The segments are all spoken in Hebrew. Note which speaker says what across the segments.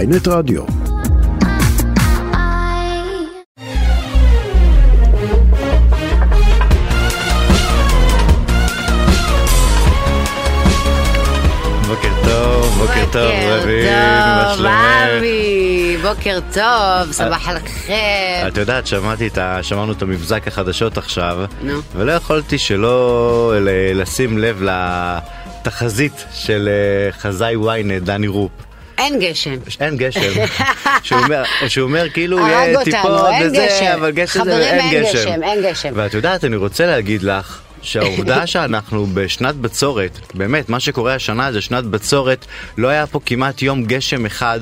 Speaker 1: ynet רדיו.
Speaker 2: בוקר טוב, בוקר טוב, רביב, מה שלומך?
Speaker 3: אבי, בוקר טוב, סבח על חיר.
Speaker 2: את יודעת, שמעתי את ה... שמענו את המבזק החדשות עכשיו,
Speaker 3: נו.
Speaker 2: ולא יכולתי שלא ל- לשים לב לתחזית של אה, חזאי ynet, דני רופ.
Speaker 3: אין גשם.
Speaker 2: אין גשם, שהוא אומר- שהוא אומר כאילו
Speaker 3: הרג
Speaker 2: יהיה
Speaker 3: אותנו,
Speaker 2: טיפות
Speaker 3: אין
Speaker 2: וזה,
Speaker 3: גשם.
Speaker 2: אבל גשם זה
Speaker 3: חברים,
Speaker 2: אין גשם.
Speaker 3: גשם, אין גשם.
Speaker 2: ואת יודעת, אני רוצה להגיד לך שהעובדה שאנחנו בשנת בצורת, באמת, מה שקורה השנה זה שנת בצורת, לא היה פה כמעט יום גשם אחד.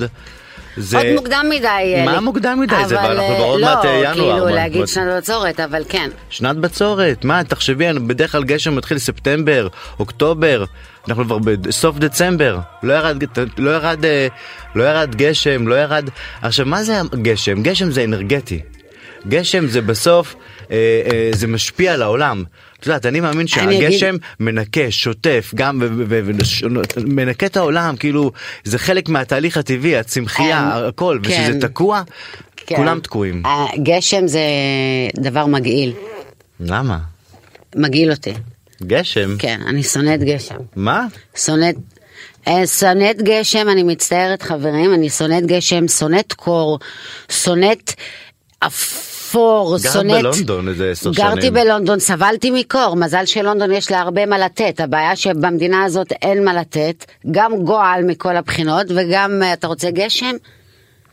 Speaker 2: זה...
Speaker 3: עוד מוקדם מדי, אלי.
Speaker 2: מה מוקדם מדי? זה
Speaker 3: אבל,
Speaker 2: אנחנו
Speaker 3: אה,
Speaker 2: כבר עוד מעט, אה, ינואר,
Speaker 3: לא, כאילו
Speaker 2: מה-
Speaker 3: להגיד
Speaker 2: מה-
Speaker 3: שנת בצורת, אבל כן.
Speaker 2: שנת בצורת, מה, תחשבי, אני- בדרך כלל גשם מתחיל ספטמבר, אוקטובר, אנחנו כבר בסוף דצמבר, לא ירד, לא ירד, אה, לא ירד גשם, לא ירד... עכשיו, מה זה גשם? גשם זה אנרגטי. גשם זה בסוף, אה, אה, זה משפיע על העולם. את יודעת, אני מאמין
Speaker 3: אני אגיד-
Speaker 2: שהגשם מנקה, שוטף, גם ו- ו- ו- וש- מנקה את העולם, כאילו, זה חלק מהתהליך הטבעי, הצמחייה,
Speaker 3: אה,
Speaker 2: הכל,
Speaker 3: כן.
Speaker 2: ושזה תקוע,
Speaker 3: כן.
Speaker 2: כולם תקועים.
Speaker 3: הגשם זה דבר מגעיל.
Speaker 2: למה?
Speaker 3: מגעיל אותי.
Speaker 2: גשם?
Speaker 3: כן, אני שונאת גשם.
Speaker 2: מה?
Speaker 3: שונאת... אה, שונאת גשם, אני מצטערת חברים, אני שונאת גשם, שונאת קור, שונאת אפור,
Speaker 2: גרת
Speaker 3: שונאת...
Speaker 2: בלונדון איזה עשר
Speaker 3: גרתי
Speaker 2: שנים.
Speaker 3: בלונדון, סבלתי מקור, מזל שלונדון יש לה הרבה מה לתת, הבעיה שבמדינה הזאת אין מה לתת, גם גועל מכל הבחינות, וגם, אה, אתה רוצה גשם?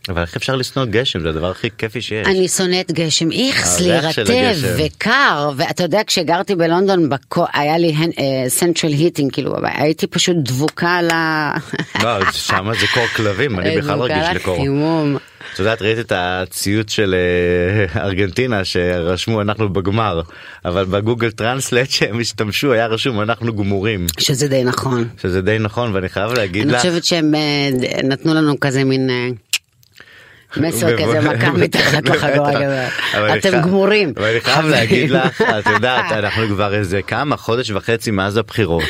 Speaker 2: אבל איך אפשר לשנוא גשם? זה הדבר הכי כיפי שיש.
Speaker 3: אני שונאת גשם, איכס לי,
Speaker 2: הריח אה, של
Speaker 3: רטב
Speaker 2: הגשם.
Speaker 3: וקר, ואתה יודע, כשגרתי בלונדון, בקו- היה לי סנטרל היטינג, כאילו, הייתי פשוט דבוקה על ה...
Speaker 2: לא, שם זה קור כלבים, אני בכלל
Speaker 3: דבוקה
Speaker 2: רגיש
Speaker 3: על
Speaker 2: לקור.
Speaker 3: החימום.
Speaker 2: את יודעת, ראית את הציוץ של אה, ארגנטינה שרשמו אנחנו בגמר, אבל בגוגל טרנסלט שהם השתמשו היה רשום אנחנו גמורים,
Speaker 3: שזה די נכון.
Speaker 2: שזה די נכון ואני חייב להגיד
Speaker 3: אני
Speaker 2: לך.
Speaker 3: חושבת שהם אה, ד- נתנו לנו כזה מין אה, מסר כזה מכה מתחת לחגורה כזה.
Speaker 2: אבל אני
Speaker 3: אתם
Speaker 2: חי-
Speaker 3: גמורים.
Speaker 2: אבל אני חייב
Speaker 3: חברים.
Speaker 2: להגיד לך, את יודעת, אנחנו כבר איזה כמה, חודש וחצי מאז הבחירות.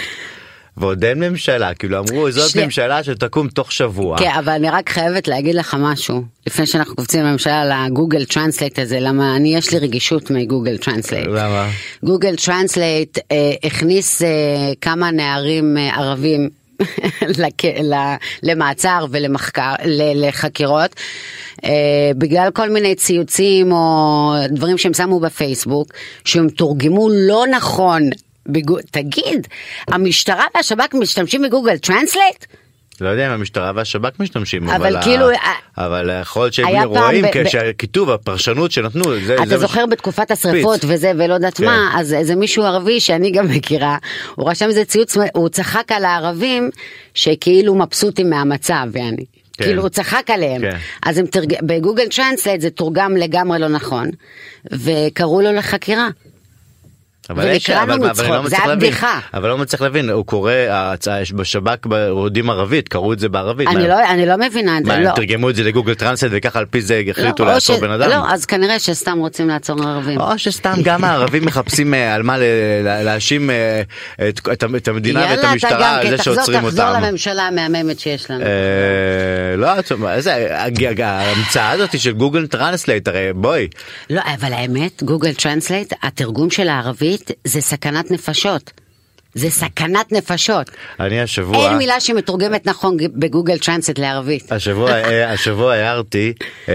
Speaker 2: ועוד אין ממשלה, כאילו אמרו זאת
Speaker 3: שנייה.
Speaker 2: ממשלה שתקום תוך שבוע.
Speaker 3: כן, אבל אני רק חייבת להגיד לך משהו, לפני שאנחנו קופצים לממשלה לגוגל טרנסלייט הזה, למה אני יש לי רגישות מגוגל טרנסלייט.
Speaker 2: למה?
Speaker 3: גוגל טרנסלייט אה, הכניס אה, כמה נערים אה, ערבים לכ- ל- למעצר ולמחקר, ל- לחקירות, אה, בגלל כל מיני ציוצים או דברים שהם שמו בפייסבוק, שהם תורגמו לא נכון. בגו- תגיד, המשטרה והשב"כ משתמשים בגוגל טרנסלייט?
Speaker 2: לא יודע אם המשטרה והשב"כ משתמשדים,
Speaker 3: אבל
Speaker 2: אבל, ה-
Speaker 3: כאילו,
Speaker 2: אבל יכול להיות
Speaker 3: היה
Speaker 2: שהם
Speaker 3: פעם
Speaker 2: רואים
Speaker 3: ב- ב-
Speaker 2: כשהכיתוב, הפרשנות שנתנו, זה, זה
Speaker 3: אתה
Speaker 2: מה ש-
Speaker 3: זוכר בתקופת השרפות
Speaker 2: פיץ.
Speaker 3: וזה ולא יודעת
Speaker 2: כן.
Speaker 3: מה אז איזה מישהו ערבי שאני גם מכירה הוא רשם איזה ציוץ הוא צחק על הערבים שכאילו מבסוטים מהמצב יעני.
Speaker 2: כן.
Speaker 3: כאילו הוא צחק עליהם,
Speaker 2: כן.
Speaker 3: אז הם תרג... בגוגל טרנסלייט זה תורגם לגמרי לא נכון, וקראו לו לחקירה.
Speaker 2: אבל יש-
Speaker 3: ונקרענו
Speaker 2: אבל- אבל
Speaker 3: מצחוק,
Speaker 2: אני לא
Speaker 3: זה
Speaker 2: מצליח
Speaker 3: היה
Speaker 2: להבין.
Speaker 3: בדיחה.
Speaker 2: אבל לא מצליח להבין, הוא קורא, ההצעה- יש בשב"כ ב- רודים ערבית, קראו את זה בערבית.
Speaker 3: אני
Speaker 2: מה,
Speaker 3: לא, אני לא מבינה את זה,
Speaker 2: מה,
Speaker 3: לא.
Speaker 2: הם תרגמו את זה לגוגל טרנסט וככה על פי זה החליטו
Speaker 3: לא, או
Speaker 2: לעצור
Speaker 3: ש-
Speaker 2: בן אדם?
Speaker 3: לא, אז כנראה שסתם רוצים לעצור ערבים.
Speaker 2: או שסתם גם הערבים מחפשים אה, על מה ל- ל- להאשים אה, את- את ה- את המדינה ואת
Speaker 3: יאללה, אתה
Speaker 2: המשטרה
Speaker 3: גם
Speaker 2: על
Speaker 3: כן,
Speaker 2: זה
Speaker 3: תחזור,
Speaker 2: שעוצרים
Speaker 3: תחזור
Speaker 2: אותם.
Speaker 3: לממשלה המהממת שיש לנו.
Speaker 2: אה, לא, את- מה זה, הג- הג- ההמצאה הזאת של גוגל טרנסלייט, הרי בואי,
Speaker 3: לא, אבל האמת, גוגל טרנסלייט, התרגום של הערבית זה סכנת נפשות. זה סכנת נפשות.
Speaker 2: אני השבוע...
Speaker 3: אין מילה שמתורגמת נכון בגוגל טרנסלייט לערבית.
Speaker 2: השבוע, אה, השבוע הערתי, אה,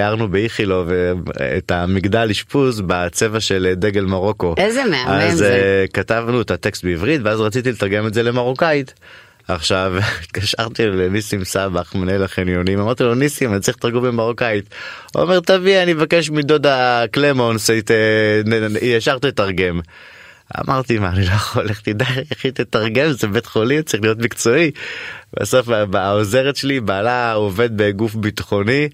Speaker 2: הערנו באיכילוב אה, את המגדל אשפוז בצבע של אה, דגל מרוקו.
Speaker 3: איזה מהמם
Speaker 2: אז
Speaker 3: זה.
Speaker 2: אה, כתבנו את הטקסט בעברית ואז רציתי לתרגם את זה למרוקאית. עכשיו התקשרתי לניסים סבח מנהל החניונים אמרתי לו ניסים אני צריך לתרגום במרוקאית. הוא אומר תביא אני מבקש מדודה קלמונס היא ת- נ- נ- היא ישר תתרגם. אמרתי מה אני לא יכול איך תדע איך היא תתרגם זה בית חולים צריך להיות מקצועי. בסוף ה- העוזרת שלי בעלה עובד בגוף ביטחוני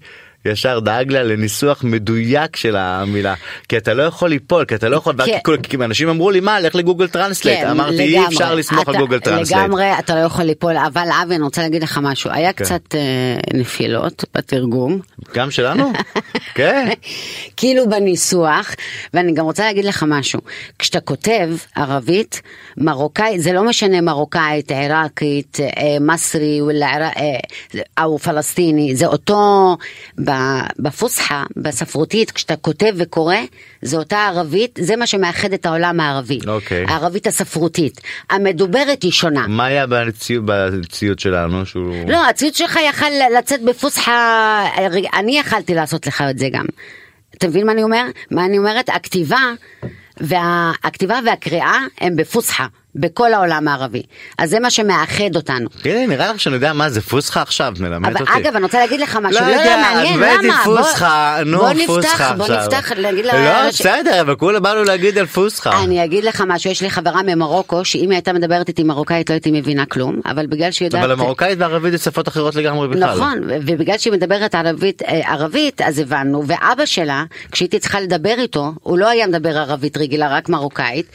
Speaker 2: ישר דאג לה לניסוח מדויק של המילה כי אתה לא יכול ליפול כי אתה לא יכול
Speaker 3: כן.
Speaker 2: ואז כי אנשים אמרו לי מה לך לגוגל טרנסלייט
Speaker 3: כן,
Speaker 2: אמרתי
Speaker 3: לגמרי.
Speaker 2: אי אפשר לסמוך על
Speaker 3: אתה-
Speaker 2: גוגל טרנסלייט.
Speaker 3: לגמרי, אתה לא יכול ליפול, אבל אבי, אני רוצה להגיד לך משהו, היה
Speaker 2: כן.
Speaker 3: קצת אה, נפילות בתרגום,
Speaker 2: גם שלנו? כן.
Speaker 3: כאילו בניסוח, ואני גם רוצה להגיד לך משהו, כשאתה כותב ערבית, מרוקאית, זה לא משנה מרוקאית, עיראקית, אה, מסרי, וואלה, עירא- אה, או פלסטיני, זה אותו, ב- בפוסחה, בספרותית, כשאתה כותב וקורא, זה אותה ערבית, זה מה שמאחד את העולם הערבי,
Speaker 2: אוקיי.
Speaker 3: הערבית הספרותית, המדוברת היא שונה.
Speaker 2: מה היה בציוד, בציוד שלנו שהוא
Speaker 3: לא, הציוד שלך יכל לצאת בפוסחה, אה, אני יכלתי לעשות לך את זה גם. אתה מבין מה אני אומר? מה אני אומרת? הכתיבה, וה... הכתיבה והקריאה הם בפוסחה, בכל העולם הערבי. אז זה מה שמאחד אותנו.
Speaker 2: הנה נראה לך שאני יודע מה זה פוסחה עכשיו מלמד
Speaker 3: אבל
Speaker 2: אותי.
Speaker 3: אגב, אני רוצה להגיד לך משהו, לא, לא,
Speaker 2: יודעת,
Speaker 3: מעניין,
Speaker 2: הבאתי
Speaker 3: למה? בוא-
Speaker 2: פוסחה, נו
Speaker 3: בוא נפתח,
Speaker 2: פוסחה
Speaker 3: בוא
Speaker 2: עכשיו.
Speaker 3: נפתח, להגיד
Speaker 2: לא
Speaker 3: לאנשים-
Speaker 2: בסדר אבל כולה באנו להגיד על פוסחה.
Speaker 3: אני אגיד לך משהו, יש לי חברה ממרוקו, שאם היא הייתה מדברת איתי מרוקאית לא הייתי מבינה כלום, אבל בגלל שהיא יודעת...
Speaker 2: אבל המרוקאית והערבית זה שפות אחרות לגמרי בכלל. לא.
Speaker 3: נכון, ו- ובגלל שהיא מדברת ערבית, אה, ערבית, אז הבנו, ואבא שלה, כשהייתי צריכה לדבר איתו, הוא לא היה מדבר ערבית רגילה, רק מרוקאית,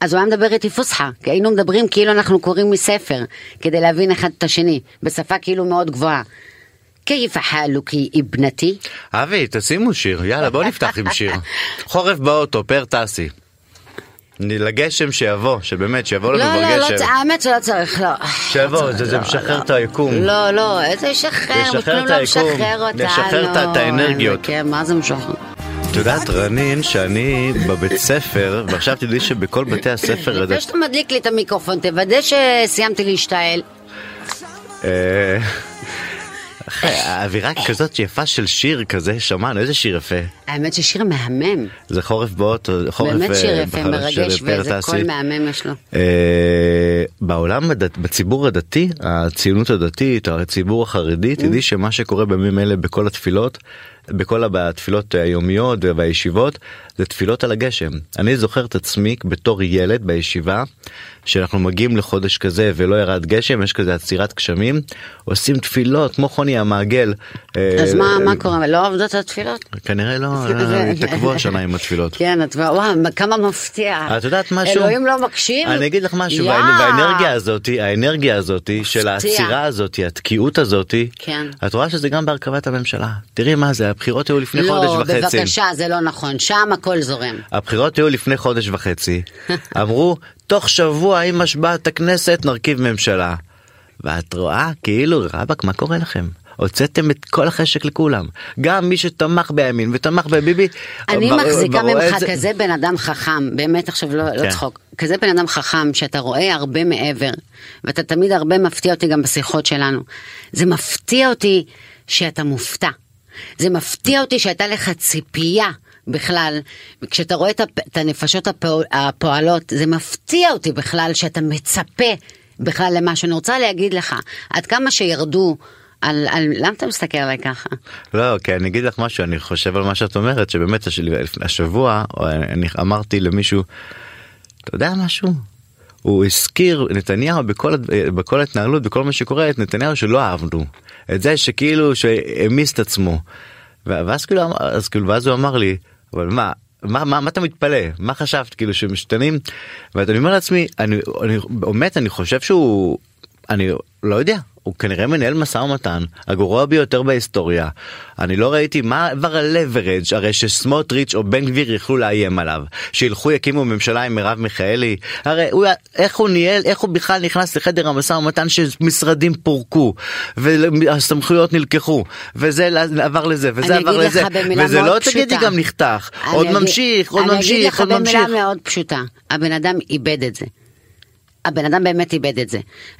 Speaker 3: אז הוא היה מדבר איתי פוסחה, כי היינו מדברים כאילו אנחנו קוראים מספר, כדי להבין אחד את השני, בשפה כאילו מאוד גבוהה. כיף חלוקי אבנתי?
Speaker 2: אבי תשימו שיר יאללה בוא נפתח עם שיר. חורף באוטו פר טסי. לגשם שיבוא שבאמת שיבוא
Speaker 3: לא,
Speaker 2: לנו
Speaker 3: לא,
Speaker 2: כבר
Speaker 3: לא,
Speaker 2: גשם.
Speaker 3: צ- האמת שלא צריך, לא.
Speaker 2: שיבוא זה זה משחרר את היקום.
Speaker 3: לא, לא, איזה ישחרר,
Speaker 2: לשחרר
Speaker 3: וכלום
Speaker 2: את
Speaker 3: לא
Speaker 2: היקום,
Speaker 3: משחרר אותנו.
Speaker 2: לשחרר את- את האנרגיות.
Speaker 3: כן, מה זה משחרר?
Speaker 2: את יודעת רנין שאני בבית ספר ועכשיו תדעי שבכל בתי הספר הזה
Speaker 3: לפני שאתה מדליק לי את המיקרופון, תוודא שסיימתי להשתעל.
Speaker 2: אה, אחי, האווירה כזאת יפה של שיר כזה שמענו איזה שיר יפה
Speaker 3: האמת ששיר מהמם,
Speaker 2: זה חורף באוטו חורף
Speaker 3: באמת שיר
Speaker 2: אה,
Speaker 3: יפה,
Speaker 2: בחלום
Speaker 3: מרגש,
Speaker 2: של פאר
Speaker 3: ואיזה
Speaker 2: טאסי.
Speaker 3: קול מהמם יש לו.
Speaker 2: אה, בעולם הדת- בציבור הדתי הציונות הדתית הציבור
Speaker 3: Mm.
Speaker 2: החרדי תדעי שמה שקורה בימים אלה בכל התפילות בכל הב- התפילות היומיות והישיבות זה תפילות על הגשם אני זוכר את עצמי בתור ילד בישיבה שאנחנו מגיעים לחודש כזה ולא ירד גשם יש כזה עצירת גשמים עושים תפילות כמו חוני המעגל. אה,
Speaker 3: אז מה מה קורה, אבל לא עובדות התפילות?
Speaker 2: כנראה לא לא, התעכבו השנה עם התפילות.
Speaker 3: כן, את וואו, כמה מפתיע.
Speaker 2: את יודעת משהו?
Speaker 3: אלוהים לא מקשיב?
Speaker 2: אני אגיד לך משהו,
Speaker 3: יא.
Speaker 2: והאנ- והאנרגיה הזאתי, האנרגיה הזאתי של העצירה הזאתי, התקיעות הזאתי,
Speaker 3: כן.
Speaker 2: את רואה שזה גם בהרכבת הממשלה. תראי מה זה, הבחירות היו לפני חודש
Speaker 3: לא,
Speaker 2: וחצי.
Speaker 3: בבקשה, זה לא נכון, שם הכל זורם.
Speaker 2: הבחירות היו לפני חודש וחצי. אמרו, תוך שבוע עם השבעת הכנסת נרכיב ממשלה. ואת רואה, כאילו, רבאק, מה קורה לכם? הוצאתם את כל החשק לכולם. גם מי שתמך בימין ותמך בביבי.
Speaker 3: אני
Speaker 2: ב-
Speaker 3: מחזיקה
Speaker 2: ב- רואה את
Speaker 3: ממך
Speaker 2: זה-
Speaker 3: כזה בן אדם חכם, באמת עכשיו לא לא
Speaker 2: כן.
Speaker 3: צחוק, כזה בן אדם חכם שאתה רואה הרבה מעבר, ואתה תמיד הרבה מפתיע אותי גם בשיחות שלנו. זה מפתיע אותי שאתה מופתע. זה מפתיע אותי שהייתה לך ציפייה בכלל, כשאתה רואה את הפ- את הנפשות הפועל- הפועלות, זה מפתיע אותי בכלל שאתה מצפה בכלל למה שאני רוצה להגיד לך, עד כמה שירדו, על, על, למה אתה מסתכל עליי ככה?
Speaker 2: לא, כי אני אגיד לך משהו, אני חושב על מה שאת אומרת, שבאמת הש- השבוע או, אני אמרתי למישהו, אתה יודע משהו? הוא הזכיר נתניהו בכל, הד- בכל ההתנהלות, בכל מה שקורה, את נתניהו שלא אהבנו. את זה שכאילו שהעמיס את עצמו. ו- ואז כאילו, אמר- אז כאילו, ואז הוא אמר לי, אבל מה, מה, מה, מה אתה מתפלא? מה חשבת כאילו שמשתנים? ואני אומר לעצמי, אני, אני, באמת, אני חושב שהוא, אני לא יודע, הוא כנראה מנהל משא ומתן הגרוע ביותר בהיסטוריה. אני לא ראיתי מה כבר הלוורג' הרי שסמוטריץ' או בן גביר יכלו לאיים עליו. שילכו יקימו ממשלה עם מרב מיכאלי. הרי הוא, איך הוא ניהל, איך הוא בכלל נכנס לחדר המשא ומתן שמשרדים פורקו והסמכויות נלקחו וזה עבר לזה וזה
Speaker 3: אני
Speaker 2: עבר
Speaker 3: אגיד
Speaker 2: לזה.
Speaker 3: לך במילה
Speaker 2: וזה
Speaker 3: מאוד
Speaker 2: לא
Speaker 3: פשוטה.
Speaker 2: תגידי גם נחתך.
Speaker 3: אני
Speaker 2: עוד
Speaker 3: אגיד-
Speaker 2: ממשיך, עוד
Speaker 3: אני אגיד
Speaker 2: ממשיך,
Speaker 3: לך
Speaker 2: עוד ממשיך.
Speaker 3: במילה מאוד פשוטה, הבן אדם איבד את זה. הבן אדם באמת איבד את זה.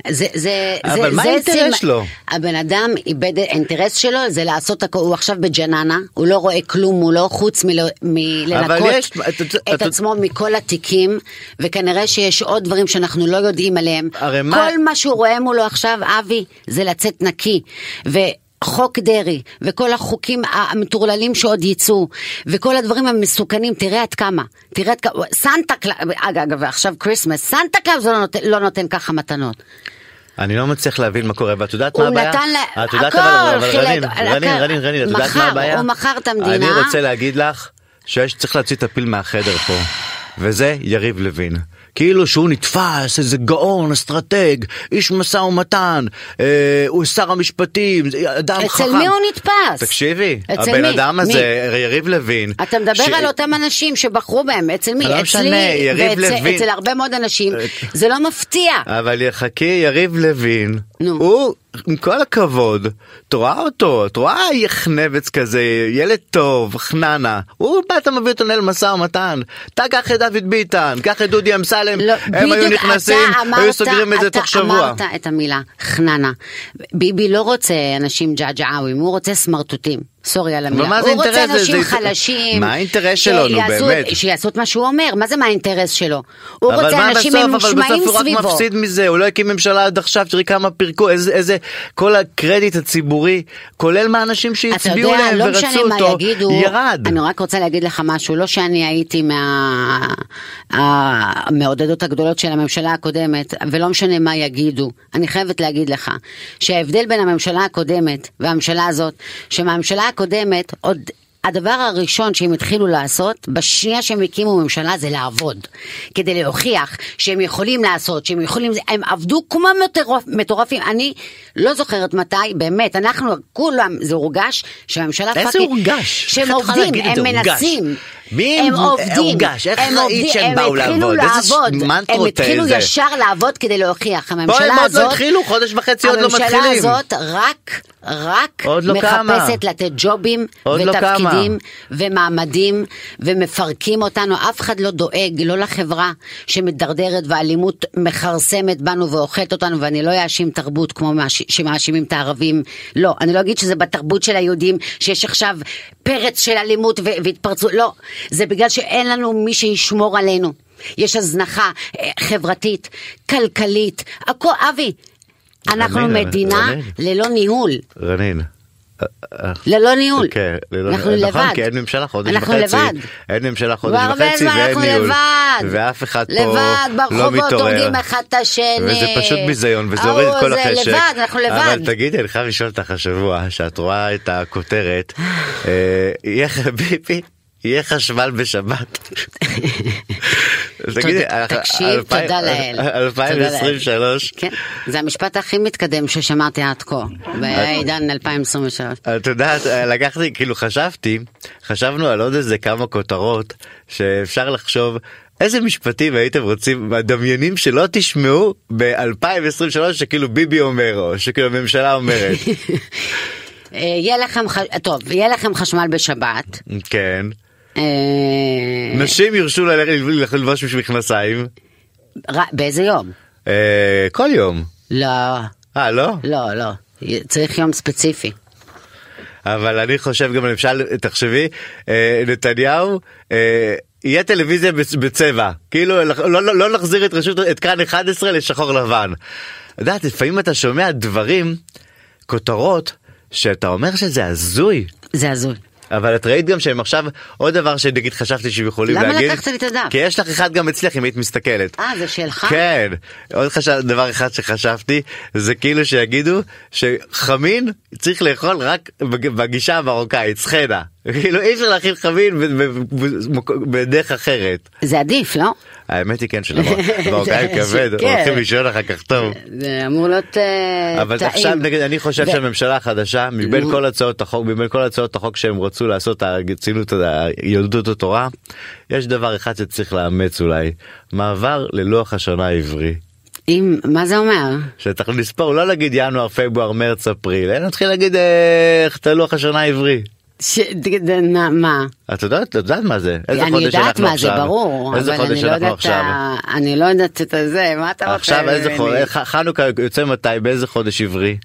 Speaker 3: זה, זה,
Speaker 2: אבל
Speaker 3: זה,
Speaker 2: מה
Speaker 3: זה
Speaker 2: האינטרס שלו?
Speaker 3: הבן אדם איבד, האינטרס שלו זה לעשות הכל, הוא עכשיו בג'ננה, הוא לא רואה כלום, הוא לא חוץ מלא-
Speaker 2: אבל
Speaker 3: מלנקות
Speaker 2: יש- את-
Speaker 3: את
Speaker 2: את-
Speaker 3: עצמו מכל התיקים, וכנראה שיש עוד דברים שאנחנו לא יודעים עליהם.
Speaker 2: הרי מה-
Speaker 3: כל מה שהוא רואה מולו עכשיו, אבי, זה לצאת נקי. וחוק דרעי, וכל החוקים המטורללים שעוד יצאו, וכל הדברים המסוכנים, תראה עד כמה. תראה עד כמה. סנטה קלאב, אגב, אגב, עכשיו כריסמס, סנטה קלאב לא, נותן- לא נותן ככה מתנות.
Speaker 2: אני לא מצליח להבין מה קורה, ואת יודעת
Speaker 3: הוא
Speaker 2: מה הבעיה?
Speaker 3: נתן לה-
Speaker 2: את יודעת
Speaker 3: הכל,
Speaker 2: אבל, אבל
Speaker 3: חילק-
Speaker 2: רנין,
Speaker 3: הכל.
Speaker 2: רנין, רנין, רנין, את יודעת
Speaker 3: מכר,
Speaker 2: מה הבעיה?
Speaker 3: הוא מכר את המדינה.
Speaker 2: אני רוצה להגיד לך שצריך להוציא את הפיל מהחדר פה, וזה יריב לוין. כאילו שהוא נתפס, איזה גאון, אסטרטג, איש משא ומתן, אה, הוא שר המשפטים, אדם חכם.
Speaker 3: אצל מי הוא נתפס?
Speaker 2: תקשיבי,
Speaker 3: אצל
Speaker 2: הבן
Speaker 3: מי?
Speaker 2: אדם
Speaker 3: מי?
Speaker 2: הזה, יריב לוין.
Speaker 3: אתה מדבר
Speaker 2: ש-
Speaker 3: על אותם אנשים שבחרו בהם, אצל מי?
Speaker 2: לא
Speaker 3: אצלי,
Speaker 2: משנה, יריב
Speaker 3: ואצל-
Speaker 2: לוין. אה,
Speaker 3: אצל הרבה מאוד אנשים, זה לא מפתיע.
Speaker 2: אבל יחכה יריב לוין,
Speaker 3: נו.
Speaker 2: הוא, עם כל הכבוד, את רואה אותו, את רואה יחנבץ כזה, ילד טוב, חננה, הוא בא, אתה מביא אותו לנהל משא ומתן, אתה קח את דוד ביטן, קח את דודי אמסלם,
Speaker 3: לא,
Speaker 2: הם היו
Speaker 3: בדיוק,
Speaker 2: נכנסים,
Speaker 3: אתה אמרת-
Speaker 2: היו סוגרים את זה
Speaker 3: אתה
Speaker 2: תוך שבוע.
Speaker 3: אמרת את המילה חננה. ביבי לא רוצה אנשים ג'עג'עאווים, הוא רוצה סמרטוטים. סורי על המילה.
Speaker 2: ומה זה
Speaker 3: הוא רוצה
Speaker 2: אינטרס? זה-
Speaker 3: אנשים
Speaker 2: זה-
Speaker 3: חלשים.
Speaker 2: מה האינטרס שלו, נו,
Speaker 3: שיעשו-
Speaker 2: באמת?
Speaker 3: שיעשו את מה שהוא אומר, מה זה מה האינטרס שלו? הוא
Speaker 2: אבל
Speaker 3: רוצה
Speaker 2: מה
Speaker 3: אנשים
Speaker 2: בסוף?
Speaker 3: עם
Speaker 2: אבל
Speaker 3: שמעים
Speaker 2: בסוף הוא רק
Speaker 3: סביבו.
Speaker 2: מפסיד מזה, הוא לא הקים ממשלה עד עכשיו, תראי כמה פירקו, איזה, איזה, כל הקרדיט הציבורי, כולל מהאנשים
Speaker 3: אתה
Speaker 2: שהצביעו
Speaker 3: יודע,
Speaker 2: להם
Speaker 3: לא משנה
Speaker 2: ורצו
Speaker 3: מה
Speaker 2: אותו,
Speaker 3: יגידו,
Speaker 2: ירד.
Speaker 3: אני רק רוצה להגיד לך משהו, לא שאני הייתי מה... המעודדות הגדולות של הממשלה הקודמת, ולא משנה מה יגידו, אני חייבת להגיד לך שההבדל בין הממשלה הקודמת והממשלה הזאת, שמהממשלה הקודמת עוד... הדבר הראשון שהם התחילו לעשות, בשנייה שהם הקימו ממשלה, זה לעבוד. כדי להוכיח שהם יכולים לעשות, שהם יכולים... הם עבדו כמו מטורפ- מטורפים. אני לא זוכרת מתי, באמת, אנחנו כולם, זה הורגש שהממשלה
Speaker 2: איזה
Speaker 3: פאקינג-
Speaker 2: הורגש?
Speaker 3: שהם
Speaker 2: איך את יכולה
Speaker 3: עובדים,
Speaker 2: להגיד את
Speaker 3: הם
Speaker 2: זה, הורגש?
Speaker 3: מנסים.
Speaker 2: מי
Speaker 3: הם
Speaker 2: הם-
Speaker 3: עובדים.
Speaker 2: הורגש? איך
Speaker 3: הם
Speaker 2: ראית
Speaker 3: עובדים,
Speaker 2: שהם
Speaker 3: הם
Speaker 2: באו
Speaker 3: התחילו
Speaker 2: לעבוד? איזה ש-
Speaker 3: לעבוד, הם
Speaker 2: מנטרות
Speaker 3: התחילו
Speaker 2: זה.
Speaker 3: ישר לעבוד כדי להוכיח. הממשלה
Speaker 2: פה
Speaker 3: הזאת...
Speaker 2: הם עוד לא התחילו, חודש וחצי עוד לא מתחילים.
Speaker 3: הממשלה הזאת רק, רק
Speaker 2: עוד לא קמה.
Speaker 3: מחפשת לתת ג'ובים
Speaker 2: עוד לא
Speaker 3: ותפקידים
Speaker 2: קמה.
Speaker 3: ומעמדים ומפרקים אותנו. אף אחד לא דואג, לא לחברה שמדרדרת והאלימות מכרסמת בנו ואוכלת אותנו, ואני לא אאשים תרבות כמו מאש- שמאשימים את הערבים. לא, אני לא אגיד שזה בתרבות של היהודים, שיש עכשיו פרץ של אלימות ו- והתפרצות, לא. זה בגלל שאין לנו מי שישמור עלינו. יש הזנחה אה, חברתית, כלכלית, הכל, אבי. אנחנו
Speaker 2: אמן, אמן,
Speaker 3: מדינה
Speaker 2: אמן.
Speaker 3: ללא ניהול,
Speaker 2: רנין.
Speaker 3: ללא ניהול.
Speaker 2: כן, ללא-
Speaker 3: אנחנו
Speaker 2: נכון,
Speaker 3: לבד.
Speaker 2: כי אין ממשלה חודש
Speaker 3: אנחנו
Speaker 2: וחצי,
Speaker 3: לבד.
Speaker 2: אין ממשלה חודש
Speaker 3: כבר הרבה
Speaker 2: וחצי
Speaker 3: זמן
Speaker 2: ואין
Speaker 3: אנחנו
Speaker 2: ניהול,
Speaker 3: לבד.
Speaker 2: ואף אחד פה
Speaker 3: לבד,
Speaker 2: לא
Speaker 3: ברחובות
Speaker 2: מתעורר,
Speaker 3: הורגים אחד את השני.
Speaker 2: וזה פשוט ביזיון וזה
Speaker 3: ההוא
Speaker 2: הוריד את כל
Speaker 3: זה
Speaker 2: החשק,
Speaker 3: לבד, אנחנו לבד.
Speaker 2: אבל תגידי, אני חייב לשאול אותך השבוע, שאת רואה את הכותרת, אה, יהיה חביבי, יהיה חשמל בשבת. תגידי,
Speaker 3: תודה-
Speaker 2: אנחנו-
Speaker 3: תקשיב,
Speaker 2: אלפיים-
Speaker 3: תודה לאל. תודה לאל.
Speaker 2: 2023,
Speaker 3: כן, זה המשפט הכי מתקדם ששמעתי עד כה, בעידן 2023.
Speaker 2: את יודעת, לקחתי, כאילו חשבתי, חשבנו על עוד איזה כמה כותרות שאפשר לחשוב איזה משפטים הייתם רוצים, מדמיינים שלא תשמעו ב-2023 שכאילו ביבי אומר, או שכאילו הממשלה אומרת.
Speaker 3: אה, יהיה לכם, ח- טוב, יהיה לכם חשמל בשבת.
Speaker 2: כן.
Speaker 3: אה,
Speaker 2: נשים יורשו ללכת ללבוש מכנסיים
Speaker 3: ר- באיזה יום?
Speaker 2: אה, כל יום.
Speaker 3: לא,
Speaker 2: אה, לא?
Speaker 3: לא, לא. צריך יום ספציפי.
Speaker 2: אבל אני חושב גם, למשל, תחשבי, אה, נתניהו, אה, יהיה טלוויזיה בצ- בצבע. כאילו, לח- לא, לא, לא נחזיר את רשות, את כאן 11 לשחור לבן. את יודעת, לפעמים אתה שומע דברים, כותרות, שאתה אומר שזה הזוי.
Speaker 3: זה הזוי.
Speaker 2: אבל את ראית גם שהם עכשיו, עוד דבר שנגיד חשבתי שהם יכולים
Speaker 3: למה
Speaker 2: להגיד.
Speaker 3: לקחת לי את הדף?
Speaker 2: כי יש לך אחד גם אצלך אם היית מסתכלת.
Speaker 3: אה, זה שלך?
Speaker 2: כן. עוד חשב, דבר אחד שחשבתי, זה כאילו שיגידו שחמין צריך לאכול רק בג- בגישה המרוקאית, סחנה. כאילו אי אפשר להכין חמין ב- ב- ב- בדרך אחרת.
Speaker 3: זה עדיף, לא?
Speaker 2: האמת היא כן שלמרוקאים
Speaker 3: זה-
Speaker 2: כבד,
Speaker 3: כן.
Speaker 2: הולכים לישון אחר כך טוב.
Speaker 3: זה אמור להיות אה,
Speaker 2: אבל
Speaker 3: טעים.
Speaker 2: עכשיו נגיד אני חושב
Speaker 3: ו-
Speaker 2: שהממשלה החדשה מבין
Speaker 3: נו.
Speaker 2: כל הצעות החוק מבין כל הצעות החוק שהם רצו לעשות הרצינות יהדות התורה יש דבר אחד שצריך לאמץ אולי מעבר ללוח השנה העברי.
Speaker 3: אם, מה זה אומר?
Speaker 2: שצריך לספור לא נגיד ינואר פברואר מרץ אפריל אלא נתחיל להגיד אה, איך את הלוח השנה העברי.
Speaker 3: ש... ד- ד- נ- מה?
Speaker 2: את יודעת את יודעת מה זה איזה
Speaker 3: אני
Speaker 2: חודש
Speaker 3: יודעת
Speaker 2: אנחנו
Speaker 3: מה זה,
Speaker 2: עכשיו
Speaker 3: ברור,
Speaker 2: איזה
Speaker 3: אבל אני
Speaker 2: חודש
Speaker 3: לא
Speaker 2: אנחנו
Speaker 3: יודעת, אה,
Speaker 2: עכשיו.
Speaker 3: ה- אני לא יודעת את זה, מה אתה רוצה?
Speaker 2: עכשיו איזה
Speaker 3: ממני?
Speaker 2: חודש חנוכה יוצא מתי באיזה חודש עברי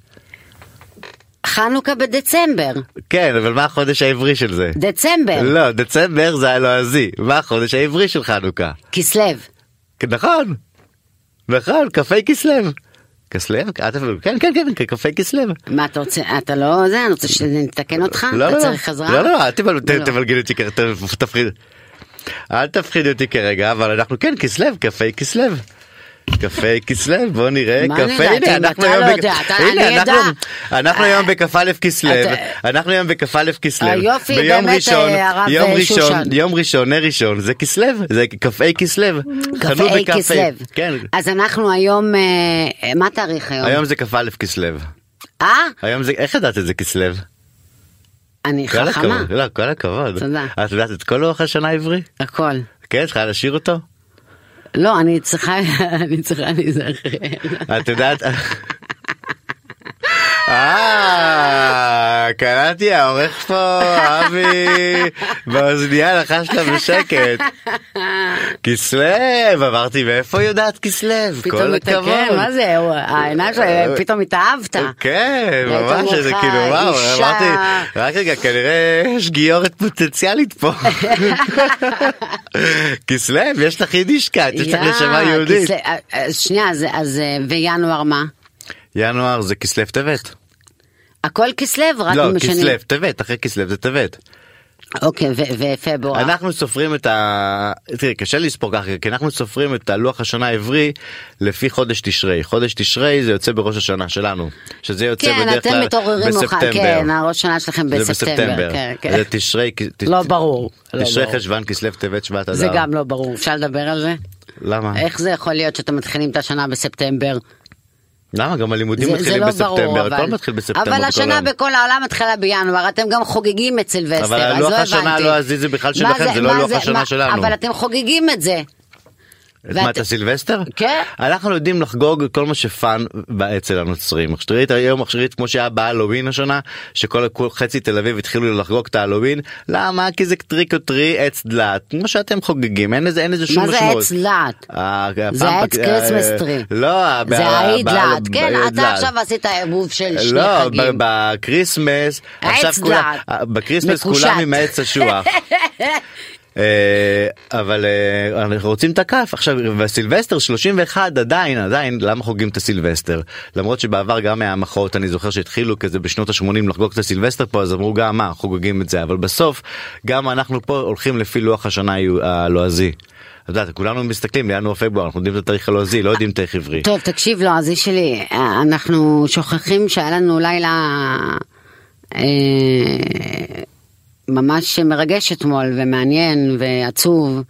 Speaker 3: חנוכה בדצמבר,
Speaker 2: כן אבל מה החודש העברי של זה.
Speaker 3: דצמבר,
Speaker 2: לא, דצמבר זה הלועזי, מה החודש העברי של חנוכה?
Speaker 3: כסלו,
Speaker 2: נכון, נכון, כ"ה כסלו. כסלו? אה, אתה- כן, כן, כן, כ"ה כסלו.
Speaker 3: מה אתה רוצה, אתה לא זה, אני רוצה שנתקן אותך?
Speaker 2: לא,
Speaker 3: אתה
Speaker 2: לא,
Speaker 3: צריך עזרה?
Speaker 2: לא, לא, אל תבל- ת-
Speaker 3: לא.
Speaker 2: תבלגני אותי, כ- ת- תפחיד. אל תפחיד אותי כרגע, אבל אנחנו כן, כסלו, כ"ה כסלו. קפה כסלו בוא נראה
Speaker 3: מה
Speaker 2: קפה
Speaker 3: נראה?
Speaker 2: הנה,
Speaker 3: אתה
Speaker 2: אנחנו
Speaker 3: לא
Speaker 2: היום בק-
Speaker 3: יודע, אתה-
Speaker 2: הנה,
Speaker 3: אני
Speaker 2: אנחנו-
Speaker 3: עדה.
Speaker 2: אנחנו היום בכ"א כסלו
Speaker 3: אתה-
Speaker 2: אנחנו היום בכ"א כסלו
Speaker 3: היופי,
Speaker 2: ביום
Speaker 3: באמת,
Speaker 2: ראשון
Speaker 3: אה, הרב,
Speaker 2: יום
Speaker 3: אה,
Speaker 2: ראשון
Speaker 3: שושן.
Speaker 2: יום ראשון נר ראשון זה כסלו זה כ"א כסלו חנות
Speaker 3: קפה A
Speaker 2: בכ"א.
Speaker 3: כסלו.
Speaker 2: כן
Speaker 3: אז אנחנו היום, אה, מה התאריך היום?
Speaker 2: היום זה כ"א כסלו
Speaker 3: אה?
Speaker 2: היום זה איך ידעת את זה כסלו
Speaker 3: אני
Speaker 2: כל
Speaker 3: חכמה,
Speaker 2: הכבוד, לא, כל הכבוד
Speaker 3: תודה.
Speaker 2: את יודעת את כל לוח השנה העברי
Speaker 3: הכל.
Speaker 2: כן צריכה לשיר אותו
Speaker 3: לא, אני צריכה, אני צריכה להיזכר.
Speaker 2: את יודעת. אה, קלטתי העורך פה, אבי, באוזנייה לחש לה בשקט. כסלו, אמרתי, מאיפה היא יודעת כסלו?
Speaker 3: פתאום
Speaker 2: כל
Speaker 3: התעכב,
Speaker 2: הכבוד. אה,
Speaker 3: מה זה, הוא- העיניים שלו, פתאום התאהבת.
Speaker 2: כן,
Speaker 3: והייתי
Speaker 2: ממש,
Speaker 3: אומרת
Speaker 2: זה
Speaker 3: לך,
Speaker 2: כאילו, וואו,
Speaker 3: אישה-
Speaker 2: אמרתי, רק רגע, כנראה יש גיורת פוטנציאלית פה. כסלו, יש לך יידישקייט, יש לך
Speaker 3: יא,
Speaker 2: נשמה יהודית.
Speaker 3: כיסא- אה, אה, שנייה, אז- אז אה, וינואר מה?
Speaker 2: ינואר זה כסלו טבת.
Speaker 3: הכל כסלו, רק
Speaker 2: לא,
Speaker 3: משנים-
Speaker 2: כסלו, טבת, אחרי כסלו זה טבת.
Speaker 3: אוקיי, ו- ופברואר.
Speaker 2: אנחנו סופרים את ה... תראי, קשה לספור ככה, כי אנחנו סופרים את הלוח השנה העברי לפי חודש תשרי. חודש תשרי זה יוצא בראש השנה שלנו, שזה יוצא
Speaker 3: כן,
Speaker 2: בדרך
Speaker 3: אתם
Speaker 2: כלל
Speaker 3: מתעוררים מאוחר,
Speaker 2: בספטמבר.
Speaker 3: כן, הראש שנה שלכם
Speaker 2: זה
Speaker 3: בספטמבר. כן, כן.
Speaker 2: זה תשרי...
Speaker 3: לא ברור, לא
Speaker 2: תשרי
Speaker 3: ברור.
Speaker 2: חשוון, כסלו, טבת, שבט, אדר.
Speaker 3: זה גם לא ברור, אפשר לדבר על זה?
Speaker 2: למה?
Speaker 3: איך זה יכול להיות שאתם מתחילים את השנה בספטמבר?
Speaker 2: למה? גם הלימודים
Speaker 3: זה, זה
Speaker 2: מתחילים
Speaker 3: לא ברור,
Speaker 2: בספטמבר,
Speaker 3: אבל...
Speaker 2: הכל מתחיל בספטמבר.
Speaker 3: אבל
Speaker 2: בכל
Speaker 3: השנה
Speaker 2: העולם.
Speaker 3: בכל העולם מתחילה בינואר, אתם גם חוגגים את סילבסטר, אז
Speaker 2: אבל
Speaker 3: לא הבנתי.
Speaker 2: הלוח השנה הלועזי זה בכלל
Speaker 3: מה
Speaker 2: שלכם, זה לא
Speaker 3: מה
Speaker 2: לוח השנה
Speaker 3: מה-
Speaker 2: שלנו.
Speaker 3: אבל אתם חוגגים את זה.
Speaker 2: את מה,
Speaker 3: ואת-
Speaker 2: את הסילבסטר?
Speaker 3: כן.
Speaker 2: אנחנו יודעים לחגוג כל מה שפאן אצל הנוצרים. עכשיו תראי את היום עכשווית כמו שהיה בהלווין השנה, שכל כל- חצי תל אביב התחילו לחגוג את ההלווין. למה? כי זה טריק או טרי עץ דלעת. כמו שאתם חוגגים, אין לזה אין לזה שום
Speaker 3: מה זה
Speaker 2: משמעות.
Speaker 3: עץ דלעת?
Speaker 2: אה,
Speaker 3: זה
Speaker 2: הפעם-
Speaker 3: עץ כריסמס טרי.
Speaker 2: לא, ה-
Speaker 3: זה
Speaker 2: ה-
Speaker 3: העיד
Speaker 2: ב-
Speaker 3: לאט.
Speaker 2: ב-
Speaker 3: כן,
Speaker 2: העיד
Speaker 3: אתה
Speaker 2: לאט.
Speaker 3: עכשיו עשית ערבוב של שני
Speaker 2: לא,
Speaker 3: חגים.
Speaker 2: ב- בקריסמס,
Speaker 3: העץ
Speaker 2: עכשיו כולם,
Speaker 3: דלעת.
Speaker 2: בקריסמס
Speaker 3: מקושט.
Speaker 2: כולם עם העץ אשוח. אה, אבל אה, אנחנו רוצים את הכף עכשיו והסילבסטר 31 עדיין עדיין למה חוגגים את הסילבסטר למרות שבעבר גם מהמחאות אני זוכר שהתחילו כזה בשנות ה-80 לחגוג את הסילבסטר פה אז אמרו גם מה חוגגים את זה אבל בסוף גם אנחנו פה הולכים לפי לוח השנה היו- הלועזי. את יודעת כולנו מסתכלים לינואר פברואר אנחנו יודעים את התאריך הלועזי לא יודעים תאריך עברי.
Speaker 3: טוב, תקשיב, לא, לועזי שלי, אה, אנחנו שוכחים שהיה לנו לילה אה, ממש מרגש אתמול, ומעניין, ועצוב.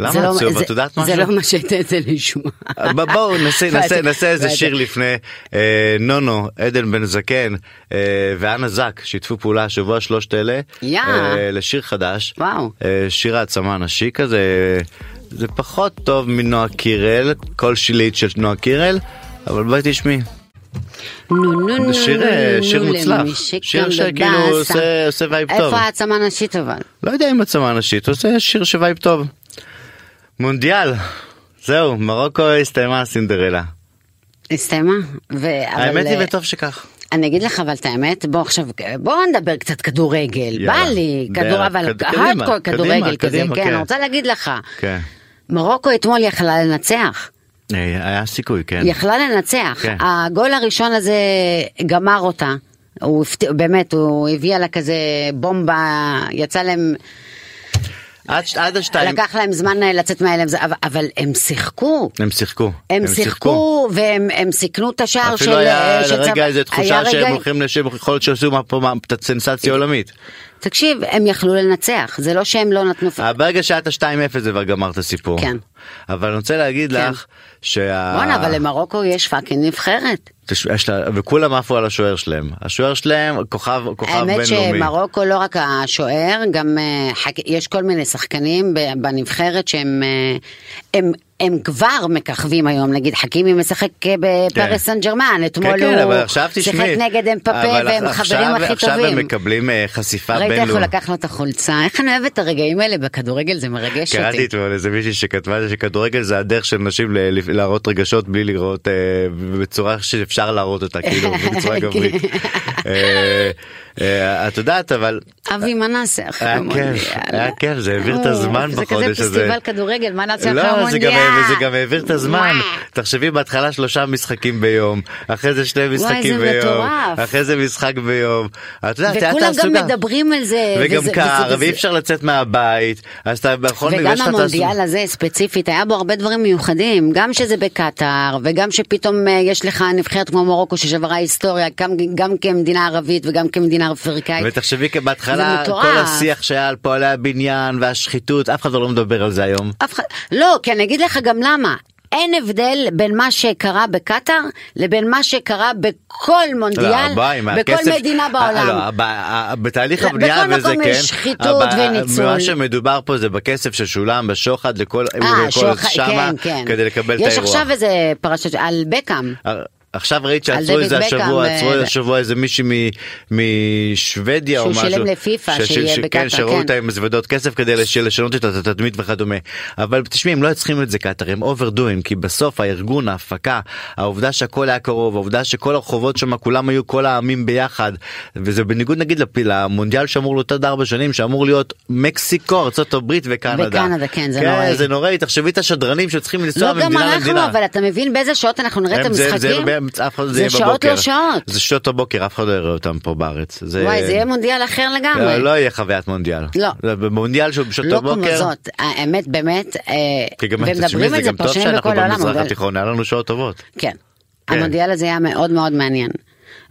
Speaker 2: למה
Speaker 3: זה לא-
Speaker 2: עצוב?
Speaker 3: זה-
Speaker 2: את יודעת
Speaker 3: זה
Speaker 2: משהו?
Speaker 3: לא מה שהייתה את זה לשמוע. לא,
Speaker 2: ב- בואו נעשה- נעשה-
Speaker 3: ואת-
Speaker 2: נעשה איזה
Speaker 3: ואת-
Speaker 2: שיר לפני אה, נונו עדן בן זקן אה, ואנה זק שיתפו פעולה השבוע שלושת אלה
Speaker 3: יא.
Speaker 2: אה, לשיר חדש
Speaker 3: וואו.
Speaker 2: אה, שיר העצמה נשי כזה זה פחות טוב מנועה קירל כל שילית של נועה קירל אבל בואי תשמעי
Speaker 3: נו נו נו
Speaker 2: שיר, אה,
Speaker 3: נו,
Speaker 2: שיר
Speaker 3: נו,
Speaker 2: מוצלח.
Speaker 3: למי
Speaker 2: שיר
Speaker 3: שקם
Speaker 2: שכאילו
Speaker 3: בבאסה.
Speaker 2: עושה- עושה וייב טוב.
Speaker 3: איפה העצמה נשית אבל?
Speaker 2: לא יודע אם עצמה נשית עושה שיר שווייב טוב. מונדיאל זהו מרוקו הסתיימה הסינדרלה
Speaker 3: הסתיימה? ו- אבל,
Speaker 2: האמת היא
Speaker 3: אה,
Speaker 2: וטוב שכך.
Speaker 3: אני אגיד לך אבל את האמת, בוא עכשיו, בוא נדבר קצת כדורגל, בא
Speaker 2: יאללה.
Speaker 3: לי, כדור,
Speaker 2: יאללה,
Speaker 3: אבל
Speaker 2: קד- קדימה,
Speaker 3: הארדקור כדורגל
Speaker 2: קדימה,
Speaker 3: כזה,
Speaker 2: קדימה,
Speaker 3: כן,
Speaker 2: כן.
Speaker 3: אני רוצה להגיד לך,
Speaker 2: כן.
Speaker 3: מרוקו אתמול יכלה לנצח,
Speaker 2: אה, היה סיכוי כן.
Speaker 3: יכלה לנצח,
Speaker 2: כן.
Speaker 3: הגול הראשון הזה גמר אותה, הוא הפתיע- באמת, הוא הביא לה כזה בומבה, יצא להם,
Speaker 2: עד, ש- עד השתיים
Speaker 3: לקח להם זמן אה, לצאת מההלם, זה- אבל- אבל הם שיחקו.
Speaker 2: הם שיחקו.
Speaker 3: הם שיחקו והם הם סיכנו את השער של... אה,
Speaker 2: אפילו היה
Speaker 3: של צב-
Speaker 2: לרגע איזה
Speaker 3: היה
Speaker 2: תחושה
Speaker 3: רגע- אה,
Speaker 2: שהם הולכים לשם, יכול להיות שעשו מה פה מה- את הסנסציה העולמית.
Speaker 3: תקשיב, הם יכלו לנצח, זה לא שהם לא נתנו...
Speaker 2: אבל ברגע שהיה את ה-2-0 זה כבר גמר את הסיפור.
Speaker 3: כן.
Speaker 2: אבל אני רוצה להגיד
Speaker 3: כן.
Speaker 2: לך שה...
Speaker 3: בואנה, אבל למרוקו יש פאקינג נבחרת.
Speaker 2: תש- יש לה- וכולם עפו על השוער שלהם. השוער שלהם כוכב כוכב
Speaker 3: האמת
Speaker 2: בינלאומי. כן,
Speaker 3: שמרוקו לא רק השוער, גם אה, חק- יש כל מיני שחקנים ב- בנבחרת שהם אה, הם- הם כבר מככבים היום, נגיד חכימי משחק אה, בפריס סן ג'רמן,
Speaker 2: כן
Speaker 3: אתמול
Speaker 2: כן
Speaker 3: הוא
Speaker 2: אבל עכשיו תשמעי.
Speaker 3: שיחק נגד אמפפה
Speaker 2: אבל
Speaker 3: והם
Speaker 2: עכשיו-
Speaker 3: חברים הכי
Speaker 2: עכשיו הם
Speaker 3: טובים.
Speaker 2: מקבלים אה, חשיפה
Speaker 3: ראית איך הוא
Speaker 2: בינלאומית.
Speaker 3: לקח לו את החולצה, איך אני אוהבת את הרגעים האלה בכדורגל, זה מרגש אותי.
Speaker 2: קראתי אתמול איזה מישהי שכתבה שכדורגל זה הדרך של נשים ל- ל- להראות רגשות בלי
Speaker 3: כן.
Speaker 2: לראות אה, בצורה שאפשר להראות אותה כאילו בצורה גברית. אה, אה, את יודעת אבל
Speaker 3: אבי מנסה אחרי
Speaker 2: היה כיף, היה כיף, זה העביר את הזמן בחודש
Speaker 3: זה אה, כזה
Speaker 2: הזה.
Speaker 3: פסטיבל כדורגל, מנסה אחרי
Speaker 2: לא, זה גם,
Speaker 3: המונדיאל.
Speaker 2: זה גם העביר את הזמן. תחשבי בהתחלה שלושה משחקים ביום, אחרי זה שני משחקים
Speaker 3: זה
Speaker 2: ביום,
Speaker 3: מטורף.
Speaker 2: אחרי זה משחק ביום. לא, את יודעת, היה
Speaker 3: וכולם גם
Speaker 2: תעסוקה.
Speaker 3: מדברים על זה.
Speaker 2: וגם
Speaker 3: וזה-
Speaker 2: קר,
Speaker 3: וזה-
Speaker 2: ואי אפשר נכון, לצאת מהבית, אז אתה בכל מקרה
Speaker 3: וגם
Speaker 2: יש לך תעסוקה.
Speaker 3: המונדיאל הזה ספציפית היה בו הרבה דברים מיוחדים גם שזה בקטאר וגם שפתאום אה, יש לך נבחרת כמו מרוקו ששברה היסטוריה גם, גם כמדינה ערבית וגם כמדינה אפריקאית.
Speaker 2: ותחשבי כי
Speaker 3: זה
Speaker 2: בהתחלה
Speaker 3: מטורף.
Speaker 2: כל השיח שהיה על פועלי הבניין והשחיתות, אף אחד לא מדבר על זה היום.
Speaker 3: אף אחד, לא, כי אני אגיד לך גם למה. אין הבדל בין מה שקרה בקטאר לבין מה שקרה בכל מונדיאל,
Speaker 2: הבעיה לא, עם
Speaker 3: בכל
Speaker 2: הכסף-
Speaker 3: מדינה
Speaker 2: לא,
Speaker 3: בעולם.
Speaker 2: הבע- ה- בתהליך
Speaker 3: לא,
Speaker 2: הבנייה
Speaker 3: בכל
Speaker 2: וזה כן.
Speaker 3: מקום יש שחיתות
Speaker 2: הבע-
Speaker 3: וניצול.
Speaker 2: מה שמדובר פה זה בכסף ששולם בשוחד לכל
Speaker 3: אה,
Speaker 2: לכל
Speaker 3: שוח-
Speaker 2: שמה
Speaker 3: כן, כן.
Speaker 2: כדי לקבל את
Speaker 3: יש
Speaker 2: האירוע.
Speaker 3: עכשיו איזה פרשת על בקאם.
Speaker 2: עכשיו ראית
Speaker 3: על
Speaker 2: שעצרו
Speaker 3: דויד
Speaker 2: איזה
Speaker 3: בקאם,
Speaker 2: השבוע,
Speaker 3: אה,
Speaker 2: עצרו
Speaker 3: זה-
Speaker 2: איזה השבוע איזה מישהי מ- משוודיה או
Speaker 3: שהוא
Speaker 2: משהו.
Speaker 3: שילם לפיפ"א,
Speaker 2: שש-
Speaker 3: שיהיה
Speaker 2: ש-
Speaker 3: בקטאר,
Speaker 2: כן, שראו
Speaker 3: כן.
Speaker 2: אותה עם מזוודות כסף כדי לש- לשנות את התדמית וכדומה. אבל תשמעי, הם לא היו צריכים את זה קטאר, הם אוברדואים, כי בסוף הארגון, ההפקה, העובדה שהכל היה קרוב, העובדה שכל הרחובות שם, כולם היו כל העמים ביחד, וזה בניגוד נגיד לפ- למונדיאל שאמור להיות עד ארבע שנים, שאמור להיות מקסיקו, ארה"ב וקנדה.
Speaker 3: וקנדה, כן, זה נוראי.
Speaker 2: זה נוראי, תחשבי את השדרנים שצריכים לנסוע
Speaker 3: לא גם
Speaker 2: ממדינה
Speaker 3: אנחנו,
Speaker 2: למדינה.
Speaker 3: אבל אתה מבין באיזה שעות אנחנו נראה את
Speaker 2: הם- זה-
Speaker 3: המשחקים?
Speaker 2: זה לא- אף אחד- זה
Speaker 3: זה
Speaker 2: יהיה
Speaker 3: שעות
Speaker 2: בבוקר.
Speaker 3: לא שעות.
Speaker 2: זה שעות הבוקר, אף אחד לא יראה אותם פה בארץ. זה-
Speaker 3: וואי, זה יהיה מונדיאל אחר לגמרי.
Speaker 2: לא, לא יהיה חוויית מונדיאל.
Speaker 3: לא.
Speaker 2: זה במונדיאל שהוא בשעות
Speaker 3: לא
Speaker 2: הבוקר.
Speaker 3: כמו זאת, האמת באמת, אה,
Speaker 2: כי גם תשמעי,
Speaker 3: ומדברים
Speaker 2: זה
Speaker 3: על זה
Speaker 2: גם טוב
Speaker 3: פרשנים
Speaker 2: שאנחנו
Speaker 3: בכל העולם,
Speaker 2: במזרח
Speaker 3: אבל-
Speaker 2: התיכון, היה לנו שעות טובות.
Speaker 3: כן,
Speaker 2: כן.
Speaker 3: המונדיאל הזה היה מאוד מאוד מעניין.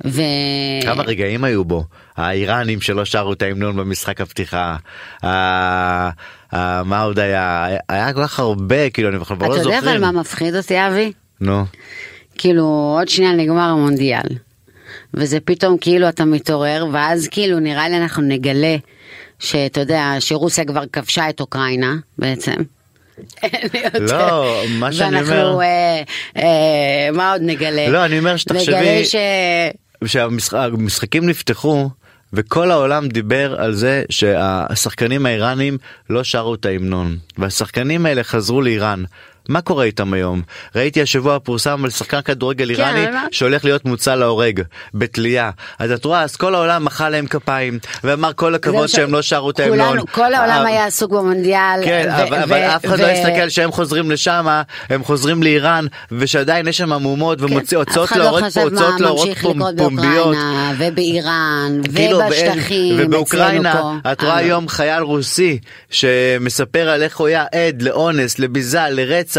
Speaker 3: ו... אה.
Speaker 2: כמה רגעים היו בו? האיראנים שלא שרו את ההמנון במשחק הפתיחה. ה- ה- מה עוד היה? היה כל כך הרבה, כאילו, אני כבר לא
Speaker 3: אתה יודע אבל
Speaker 2: זוכרים.
Speaker 3: מה מפחיד אותי אבי?
Speaker 2: נו.
Speaker 3: כאילו עוד שנייה נגמר המונדיאל. וזה פתאום כאילו אתה מתעורר ואז כאילו נראה לי אנחנו נגלה שאתה יודע שרוסיה כבר כבשה את אוקראינה בעצם. אין לי יותר.
Speaker 2: לא, מה שאני
Speaker 3: ואנחנו
Speaker 2: אומר-
Speaker 3: אה, אה, מה עוד נגלה?
Speaker 2: לא, אני אומר שתחשבי-
Speaker 3: נגלה ש...
Speaker 2: כשהמשחקים נפתחו וכל העולם דיבר על זה שהשחקנים האיראנים לא שרו את ההמנון והשחקנים האלה חזרו לאיראן. מה קורה איתם היום? ראיתי השבוע פורסם על שחקן כדורגל
Speaker 3: כן,
Speaker 2: איראני
Speaker 3: אבל מה?
Speaker 2: שהולך להיות מוצא להורג בתלייה. אז את רואה, אז כל העולם מחא להם כפיים ואמר כל
Speaker 3: זהו
Speaker 2: הכבוד
Speaker 3: ש-
Speaker 2: שהם לא שרו את ההמנון.
Speaker 3: כולנו, כל העולם
Speaker 2: אה,
Speaker 3: היה עסוק במונדיאל.
Speaker 2: כן,
Speaker 3: ו-
Speaker 2: אבל,
Speaker 3: ו-
Speaker 2: אבל אף אחד
Speaker 3: ו-
Speaker 2: לא הסתכל שהם חוזרים לשם, אה? הם חוזרים לאיראן, ושעדיין יש שם מהומות
Speaker 3: אף
Speaker 2: והוצאות
Speaker 3: אחד לא
Speaker 2: להורג פה,
Speaker 3: חשב מה
Speaker 2: הוצאות להורג
Speaker 3: ממשיך
Speaker 2: פה
Speaker 3: לקרות
Speaker 2: פומביות.
Speaker 3: באוקראינה, ובאיראן,
Speaker 2: כאילו, ואין-
Speaker 3: ובשטחים,
Speaker 2: ובאוקראינה,
Speaker 3: אצלנו פה.
Speaker 2: את רואה
Speaker 3: אה,
Speaker 2: היום חייל רוסי שמספר על איך הוא היה עד לאונס, לביזה, לרצח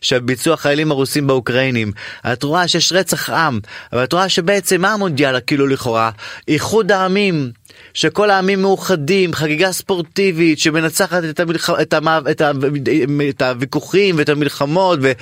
Speaker 2: שביצעו החיילים הרוסים באוקראינים. את רואה שיש רצח עם, אבל את רואה שבעצם מה המונדיאל כאילו לכאורה? איחוד העמים. שכל העמים מאוחדים, חגיגה ספורטיבית שמנצחת את, המלח... את, המ... את, ה... את הוויכוחים ואת המלחמות אה,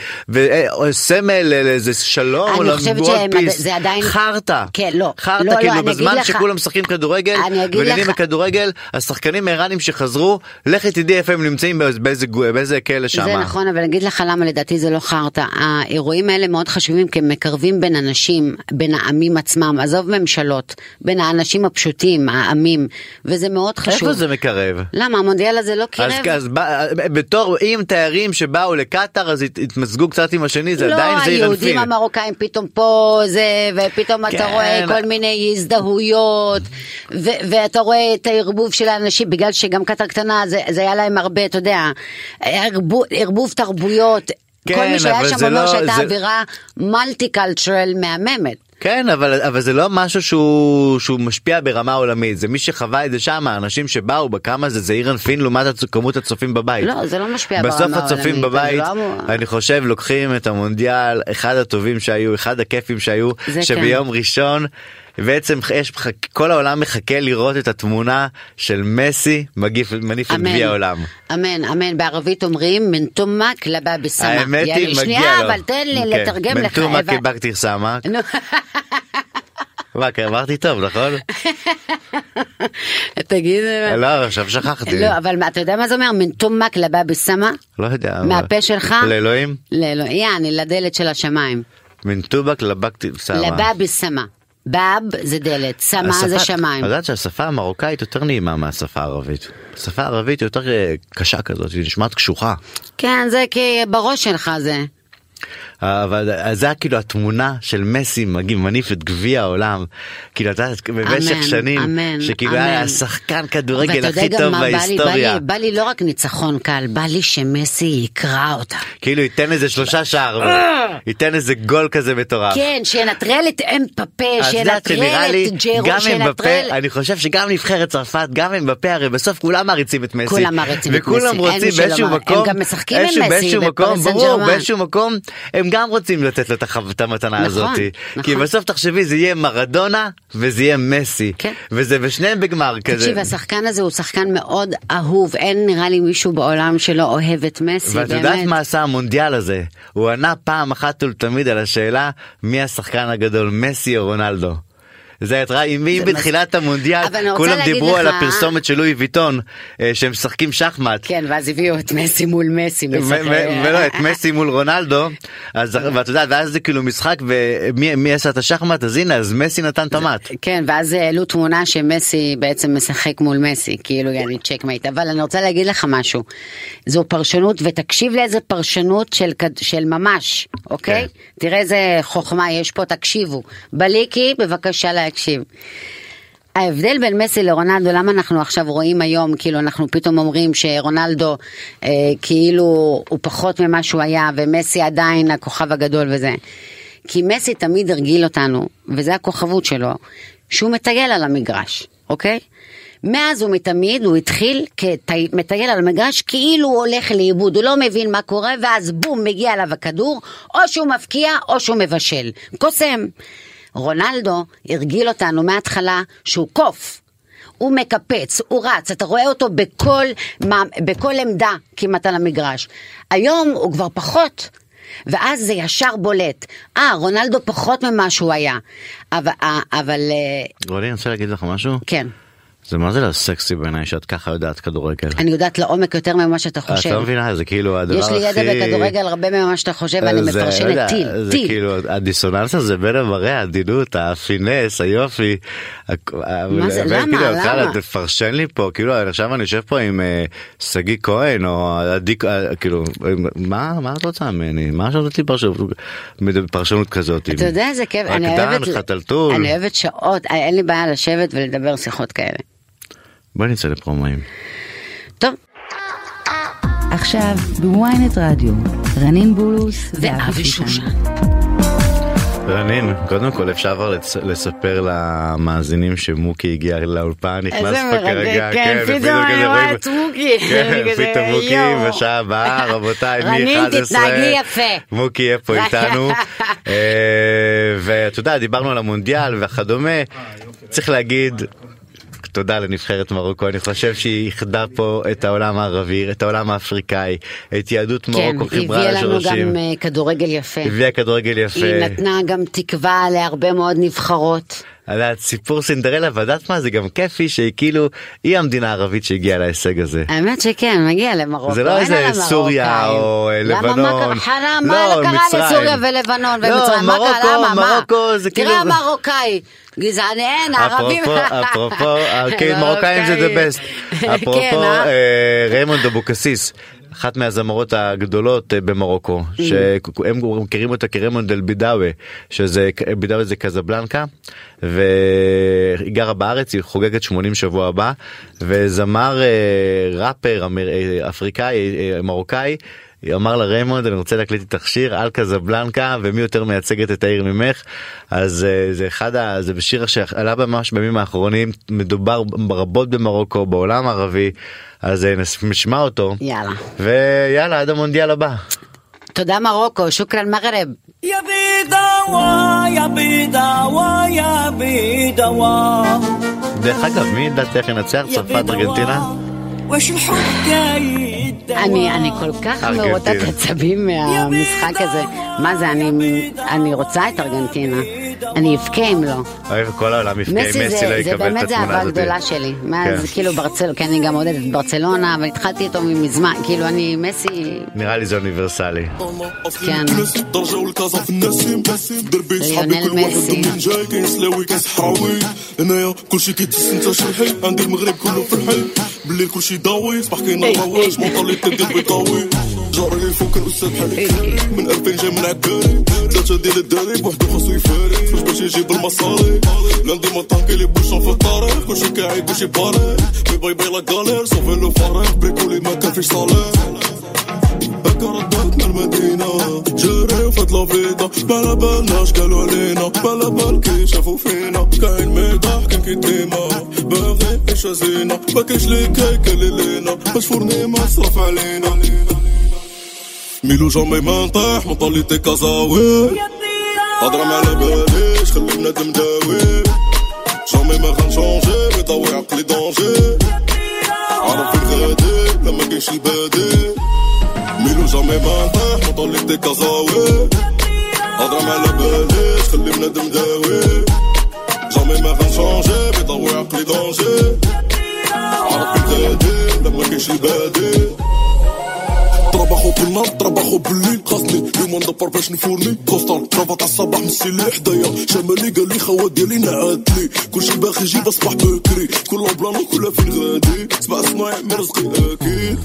Speaker 2: וסמל לאיזה שלום,
Speaker 3: אני
Speaker 2: או
Speaker 3: חושבת
Speaker 2: ל- world
Speaker 3: שהם-
Speaker 2: peace.
Speaker 3: זה עדיין-
Speaker 2: חרטא,
Speaker 3: כן, לא.
Speaker 2: חרטא,
Speaker 3: לא, לא,
Speaker 2: כאילו
Speaker 3: אני אגיד
Speaker 2: בזמן
Speaker 3: לך-
Speaker 2: שכולם משחקים כדורגל,
Speaker 3: אני אגיד
Speaker 2: ונהנים
Speaker 3: לך-
Speaker 2: מכדורגל, השחקנים האיראנים שחזרו, לכי תדעי איפה הם נמצאים, באיזה- באיזה גו- באיזה כלא שם.
Speaker 3: זה נכון, אבל אני אגיד לך למה לדעתי זה לא חרטא. האירועים האלה מאוד חשובים כי הם מקרבים בין אנשים, בין העמים עצמם, עזוב ממשלות, בין האנשים הפשוטים, העמים, וזה מאוד חשוב.
Speaker 2: איפה זה מקרב?
Speaker 3: למה המונדיאל הזה לא קירב?
Speaker 2: אז, אז בא, בתור אם תיירים שבאו לקטאר אז הת, התמזגו קצת עם השני זה
Speaker 3: לא,
Speaker 2: עדיין זה
Speaker 3: היהודים המרוקאים פתאום פה זה, ופתאום אתה
Speaker 2: כן.
Speaker 3: רואה כל מיני הזדהויות, ו- ואתה רואה את הערבוב של האנשים, בגלל שגם קטר קטנה זה, זה היה להם הרבה, אתה יודע, ערבוב, ערבוב תרבויות.
Speaker 2: כן,
Speaker 3: כל מי שהיה
Speaker 2: אבל
Speaker 3: שם
Speaker 2: זה
Speaker 3: אומר
Speaker 2: לא-
Speaker 3: שהייתה
Speaker 2: זה-
Speaker 3: אווירה מולטי קלטרל מהממת.
Speaker 2: כן אבל אבל זה לא משהו שהוא שהוא משפיע ברמה עולמית זה מי שחווה את זה שם האנשים שבאו בכמה זה זה אירן פין לעומת הצ- כמות הצופים בבית.
Speaker 3: לא, זה לא משפיע ברמה
Speaker 2: בסוף
Speaker 3: העולמית.
Speaker 2: הצופים
Speaker 3: אני
Speaker 2: בבית
Speaker 3: לא אמור-
Speaker 2: אני חושב לוקחים את המונדיאל אחד הטובים שהיו אחד הכיפים שהיו
Speaker 3: זה כן.
Speaker 2: שביום ראשון. בעצם יש מח- כל העולם מחכה לראות את התמונה של מסי מגיף- מניף את
Speaker 3: אמן.
Speaker 2: גביע העולם.
Speaker 3: אמן, אמן. בערבית אומרים מנטומה כלבה בסמה.
Speaker 2: האמת
Speaker 3: יעני,
Speaker 2: היא מגיע לו.
Speaker 3: שנייה, אבל תן לי
Speaker 2: כן.
Speaker 3: לתרגם לך.
Speaker 2: מנטומה
Speaker 3: אבל-
Speaker 2: קיבקתי סמה.
Speaker 3: נו.
Speaker 2: מה, כי אמרתי טוב נכון?
Speaker 3: תגיד...
Speaker 2: לא עכשיו שכחתי.
Speaker 3: כן. לא, אבל מה- אתה יודע מה זה אומר? מנטום מקלה בבי סמה?
Speaker 2: לא יודע. אבל-
Speaker 3: מהפה שלך?
Speaker 2: לאלוהים?
Speaker 3: לאלוהים, לא, יעני, לדלת של השמיים.
Speaker 2: מנטובק לבקתי סמה.
Speaker 3: לבבי סמה. בב זה דלת, סמה זה
Speaker 2: השפה-
Speaker 3: שמיים.
Speaker 2: את יודעת שהשפה המרוקאית יותר נעימה מהשפה הערבית. השפה הערבית יותר אה, קשה כזאת, היא נשמעת קשוחה.
Speaker 3: כן, זה כי בראש שלך זה.
Speaker 2: אבל זה היה כאילו התמונה של מסי מגיע, מניף את גביע העולם. כאילו אתה יודעת, במשך
Speaker 3: אמן,
Speaker 2: שנים,
Speaker 3: אמן,
Speaker 2: שכאילו היה
Speaker 3: אמן.
Speaker 2: השחקן כדורגל
Speaker 3: ואתה יודע
Speaker 2: הכי
Speaker 3: גם
Speaker 2: טוב
Speaker 3: מה, בא לי- בא
Speaker 2: בהיסטוריה.
Speaker 3: לי, בא לי לא רק ניצחון קל, בא לי שמסי יקרא אותה.
Speaker 2: כאילו ייתן איזה שלושה שער, ייתן איזה גול כזה מטורף.
Speaker 3: כן, שינטרל את אמפפה,
Speaker 2: אז את יודעת שנראה
Speaker 3: שינטרל
Speaker 2: לי,
Speaker 3: את ג'רו,
Speaker 2: גם
Speaker 3: שינטרל...
Speaker 2: אמבפה, אני חושב שגם נבחרת צרפת, גם אמבפה, הרי בסוף כולם מעריצים את מסי.
Speaker 3: כולם מעריצים את
Speaker 2: וכולם
Speaker 3: מסי, אין
Speaker 2: רוצים
Speaker 3: מי שלא
Speaker 2: באיזשהו
Speaker 3: מעריץ.
Speaker 2: מקום,
Speaker 3: הם גם משחקים עם
Speaker 2: איזשהו-
Speaker 3: מסי
Speaker 2: באיזשהו
Speaker 3: בפריס
Speaker 2: מקום,
Speaker 3: סן
Speaker 2: ברור,
Speaker 3: ג'רמן.
Speaker 2: באיזשהו מקום, הם גם רוצים לתת לו את החו- את המתנה
Speaker 3: נכון,
Speaker 2: הזאת. כי
Speaker 3: נכון.
Speaker 2: בסוף תחשבי, זה יהיה מרדונה וזה יהיה מסי.
Speaker 3: כן.
Speaker 2: וזה, ושניהם בגמר כזה.
Speaker 3: תקשיב, השחקן הזה הוא שחקן מאוד אהוב, אין נראה לי מישהו בעולם שלא אוהב את מסי,
Speaker 2: ואת
Speaker 3: באמת.
Speaker 2: יודעת מה עשה המונדיאל הזה? הוא ענה פעם אחת ולתמיד על השאלה מי השחקן הגדול, מסי או רונלדו. זה את ראה, אם מי
Speaker 3: זה
Speaker 2: בתחילת המונדיאל,
Speaker 3: אבל אני רוצה
Speaker 2: כולם
Speaker 3: להגיד
Speaker 2: דיברו
Speaker 3: לך-
Speaker 2: על הפרסומת של לואי ויטון, אה, שהם משחקים שחמט.
Speaker 3: כן, ואז הביאו את מסי מול מסי.
Speaker 2: ו-
Speaker 3: משחק.
Speaker 2: ו- ולא, את מסי מול רונלדו, אז- ואת יודעת, ואז זה כאילו משחק, ומי מי עשה את השחמט, אז הנה, אז מסי נתן את המט.
Speaker 3: כן, ואז העלו תמונה שמסי בעצם משחק מול מסי, כאילו יעני צ'קמייט. אבל אני רוצה להגיד לך משהו, זו פרשנות, ותקשיב לאיזה פרשנות של, כד- של ממש, אוקיי?
Speaker 2: כן.
Speaker 3: תראה איזה חוכמה יש פה, תקשיבו. בליקי, בבקשה להקשיב. ההבדל בין מסי לרונלדו, למה אנחנו עכשיו רואים היום, כאילו אנחנו פתאום אומרים שרונלדו אה, כאילו הוא פחות ממה שהוא היה, ומסי עדיין הכוכב הגדול וזה. כי מסי תמיד הרגיל אותנו, וזה הכוכבות שלו, שהוא מטייל על המגרש, אוקיי? מאז ומתמיד הוא התחיל כמטייל על המגרש כאילו הוא הולך לאיבוד, הוא לא מבין מה קורה ואז בום מגיע אליו הכדור, או שהוא מפקיע או שהוא מבשל, קוסם. רונלדו הרגיל אותנו מההתחלה שהוא קוף. הוא מקפץ, הוא רץ, אתה רואה אותו בכל, מה- בכל עמדה כמעט על המגרש. היום הוא כבר פחות, ואז זה ישר בולט. אה, רונלדו פחות ממה שהוא היה. אבל, אה, אבל אה,
Speaker 2: רוני, אני רוצה להגיד לך משהו?
Speaker 3: כן,
Speaker 2: זה מה זה לא סקסי בעיניי שאת ככה יודעת כדורגל.
Speaker 3: אני יודעת לעומק יותר ממה שאתה
Speaker 2: את
Speaker 3: חושב.
Speaker 2: לא מבינה, זה כאילו הדבר הכי...
Speaker 3: יש לי ידע בכדורגל הרבה ממה שאתה חושב, ואני
Speaker 2: זה, לא יודע,
Speaker 3: מפרשנת טיל,
Speaker 2: זה
Speaker 3: טיל.
Speaker 2: כאילו הדיסוננס הזה בין המראה, העדינות, הפינס, היופי. הכ-
Speaker 3: מה זה?
Speaker 2: בין,
Speaker 3: למה?
Speaker 2: כאילו,
Speaker 3: למה?
Speaker 2: יאללה, תפרשן לי פה, כאילו עכשיו אני יושב פה עם אה, שגיא כהן או עדי, אה, כאילו, עם- מה מה את רוצה ממני? מה עכשיו נותנים פרשנות פרשנות כזאת?
Speaker 3: אתה יודע איזה כיף, אני אוהבת...
Speaker 2: רקדן, חתלתול.
Speaker 3: אני אוהבת שעות, אה, אין לי בעיה לשבת ולדבר שיחות כאלה.
Speaker 2: בואי נצא לפרומואים.
Speaker 3: טוב,
Speaker 1: עכשיו בוויינט רדיו, רנין בולוס
Speaker 3: ואבי
Speaker 1: ואבי
Speaker 3: שושן.
Speaker 1: שושן.
Speaker 2: רנין, קודם כל אפשר כבר לצ- לספר למאזינים שמוקי הגיע לאולפן, נכנס
Speaker 3: איזה
Speaker 2: פה
Speaker 3: מרתק,
Speaker 2: כרגע,
Speaker 3: כן, פתאום אני
Speaker 2: כזה
Speaker 3: רואה
Speaker 2: רואים-
Speaker 3: את מוקי,
Speaker 2: כן,
Speaker 3: אני כזה,
Speaker 2: פתאום מוקי
Speaker 3: יואו.
Speaker 2: בשעה הבאה, רבותיי,
Speaker 3: רנין,
Speaker 2: מ-11,
Speaker 3: תתנהגי יפה.
Speaker 2: מוקי יהיה פה איתנו, אה, ואתה יודע, דיברנו על המונדיאל וכדומה, צריך להגיד... תודה לנבחרת מרוקו, אני חושב שהיא איחדה פה את העולם הערבי, את העולם האפריקאי, את יהדות
Speaker 3: כן,
Speaker 2: מרוקו,
Speaker 3: היא
Speaker 2: חברה
Speaker 3: הביאה לנו
Speaker 2: לשורשים,
Speaker 3: גם אה, כדורגל יפה.
Speaker 2: הביאה כדורגל יפה.
Speaker 3: היא נתנה גם תקווה להרבה מאוד נבחרות.
Speaker 2: על הסיפור סינדרלה ואת מה זה גם כיפי שהיא כאילו היא המדינה הערבית שהגיעה להישג הזה.
Speaker 3: האמת שכן, מגיע למרוקו.
Speaker 2: זה לא
Speaker 3: אין על
Speaker 2: איזה
Speaker 3: המרוקאים.
Speaker 2: סוריה או אה,
Speaker 3: למה,
Speaker 2: לבנון.
Speaker 3: מה קרה? חרם, מה
Speaker 2: לא,
Speaker 3: קרה
Speaker 2: מצרים.
Speaker 3: לסוריה ולבנון
Speaker 2: לא,
Speaker 3: ומצרים? מה
Speaker 2: מרוקו-
Speaker 3: קרה? למה? מה?
Speaker 2: מרוקו זה כאילו...
Speaker 3: תראה המרוקאי, גזעני, אין, כן, הערבים...
Speaker 2: אפרופו, אפרופו, אה, כן, מרוקאים זה דה בסט.
Speaker 3: כן,
Speaker 2: אפרופו
Speaker 3: אה?
Speaker 2: אה, ריימונד אבוקסיס. אחת מהזמרות הגדולות אה, במרוקו,
Speaker 3: Mm.
Speaker 2: שהם מכירים אותה כרמונד אל בידאווה, שזה, בידאווה זה קזבלנקה, והיא גרה בארץ, היא חוגגת 80 שבוע הבא, וזמר אה, ראפר אמר- אה, אפריקאי, אה, מרוקאי, אמר לה ריימונד אני רוצה להקליט איתך שיר על קזבלנקה ומי יותר מייצגת את העיר ממך אז אה, זה אחד ה... זה בשיר שעלה ממש בימים האחרונים מדובר רבות במרוקו בעולם הערבי אז אה, נס- נשמע אותו
Speaker 3: יאללה.
Speaker 2: ויאללה עד המונדיאל הבא.
Speaker 3: תודה מרוקו, שוכרן מגרב.
Speaker 4: يا بيداوا يا بيداوا يا بيداوا
Speaker 2: דרך אגב מי לדעתך ינצח
Speaker 4: يا
Speaker 2: צרפת ארגנטינה?
Speaker 4: وش الحب جاي
Speaker 3: אני, אני כל כך מרוטת
Speaker 2: ארגנטינה.
Speaker 3: עצבים מהמשחק הזה. מה זה, אני, אני רוצה את ארגנטינה. אני אבכה אם לא.
Speaker 2: אוי, כל העולם יפקע אם
Speaker 3: מסי
Speaker 2: מסי לא
Speaker 3: זה, זה
Speaker 2: יקבל את
Speaker 3: באמת זה
Speaker 2: התמונה
Speaker 3: אהבה
Speaker 2: הזאת.
Speaker 3: גדולה שלי. מאז
Speaker 2: כן.
Speaker 3: כאילו ברצל, כי אני גם עודדת את ברצלונה, אבל התחלתי איתו מזמן, כאילו אני מסי,
Speaker 2: נראה לי זה אוניברסלי.
Speaker 5: אוקיי,
Speaker 3: كان.
Speaker 5: كان درجة والكازا في النسيم دربي صحابي
Speaker 3: ليونيل
Speaker 5: كل واحد
Speaker 3: ميسي.
Speaker 5: منين جاي كيسلاوي كاس حراوي هنايا كلشي كيدس انت شرحي عندي المغرب كله في الحي بالليل كلشي ضاوي صباح كاين الغواش مونطالي تلقى البيطاوي جاري يفكر السد حالي من 2000 جاي من عكاري ثلاثة ديال الدراري بوحدو خاصو يفارق واش باش يجيب المصاري لاندي ما طانكي لي بوشون في الطريق كلشي كاعي كلشي باري مي باي باي لا كالير صوفي لو فارق بريكولي ما كان فيش صالير هكا ردات من المدينة جري فات لا فيتا ما على بالناش قالوا علينا ما على بالكي شافوا فينا كاين ميضاح كان كي ديما باغي عيشة زينة ما كاينش لي كيك اللي لينا باش فورني مصرف علينا ميلو جامي ما نطيح من طليتي كازاوي هضرة ما على باليش خلي بنادم داوي جامي ما غنشونجي مطوي عقلي دونجي عارف فين غادي لا ما كاينش البادي ميلو جامي ما نطيح من طليتي كازاوي هضرة ما على باليش خلي بنادم داوي جامي ما غنشونجي مطوي عقلي دونجي عارف فين غادي لا ما كاينش البادي طربخو بالنار طربخو بالليل خاصني يوم ندبر باش نفورني كوستال كرافات عالصباح مسيلي حدايا شمالي قال لي خوا ديالي نعاتلي كلشي باغي يجيب اصبح بكري كل بلان وكل فين غادي سبع صنايع من رزقي اكيد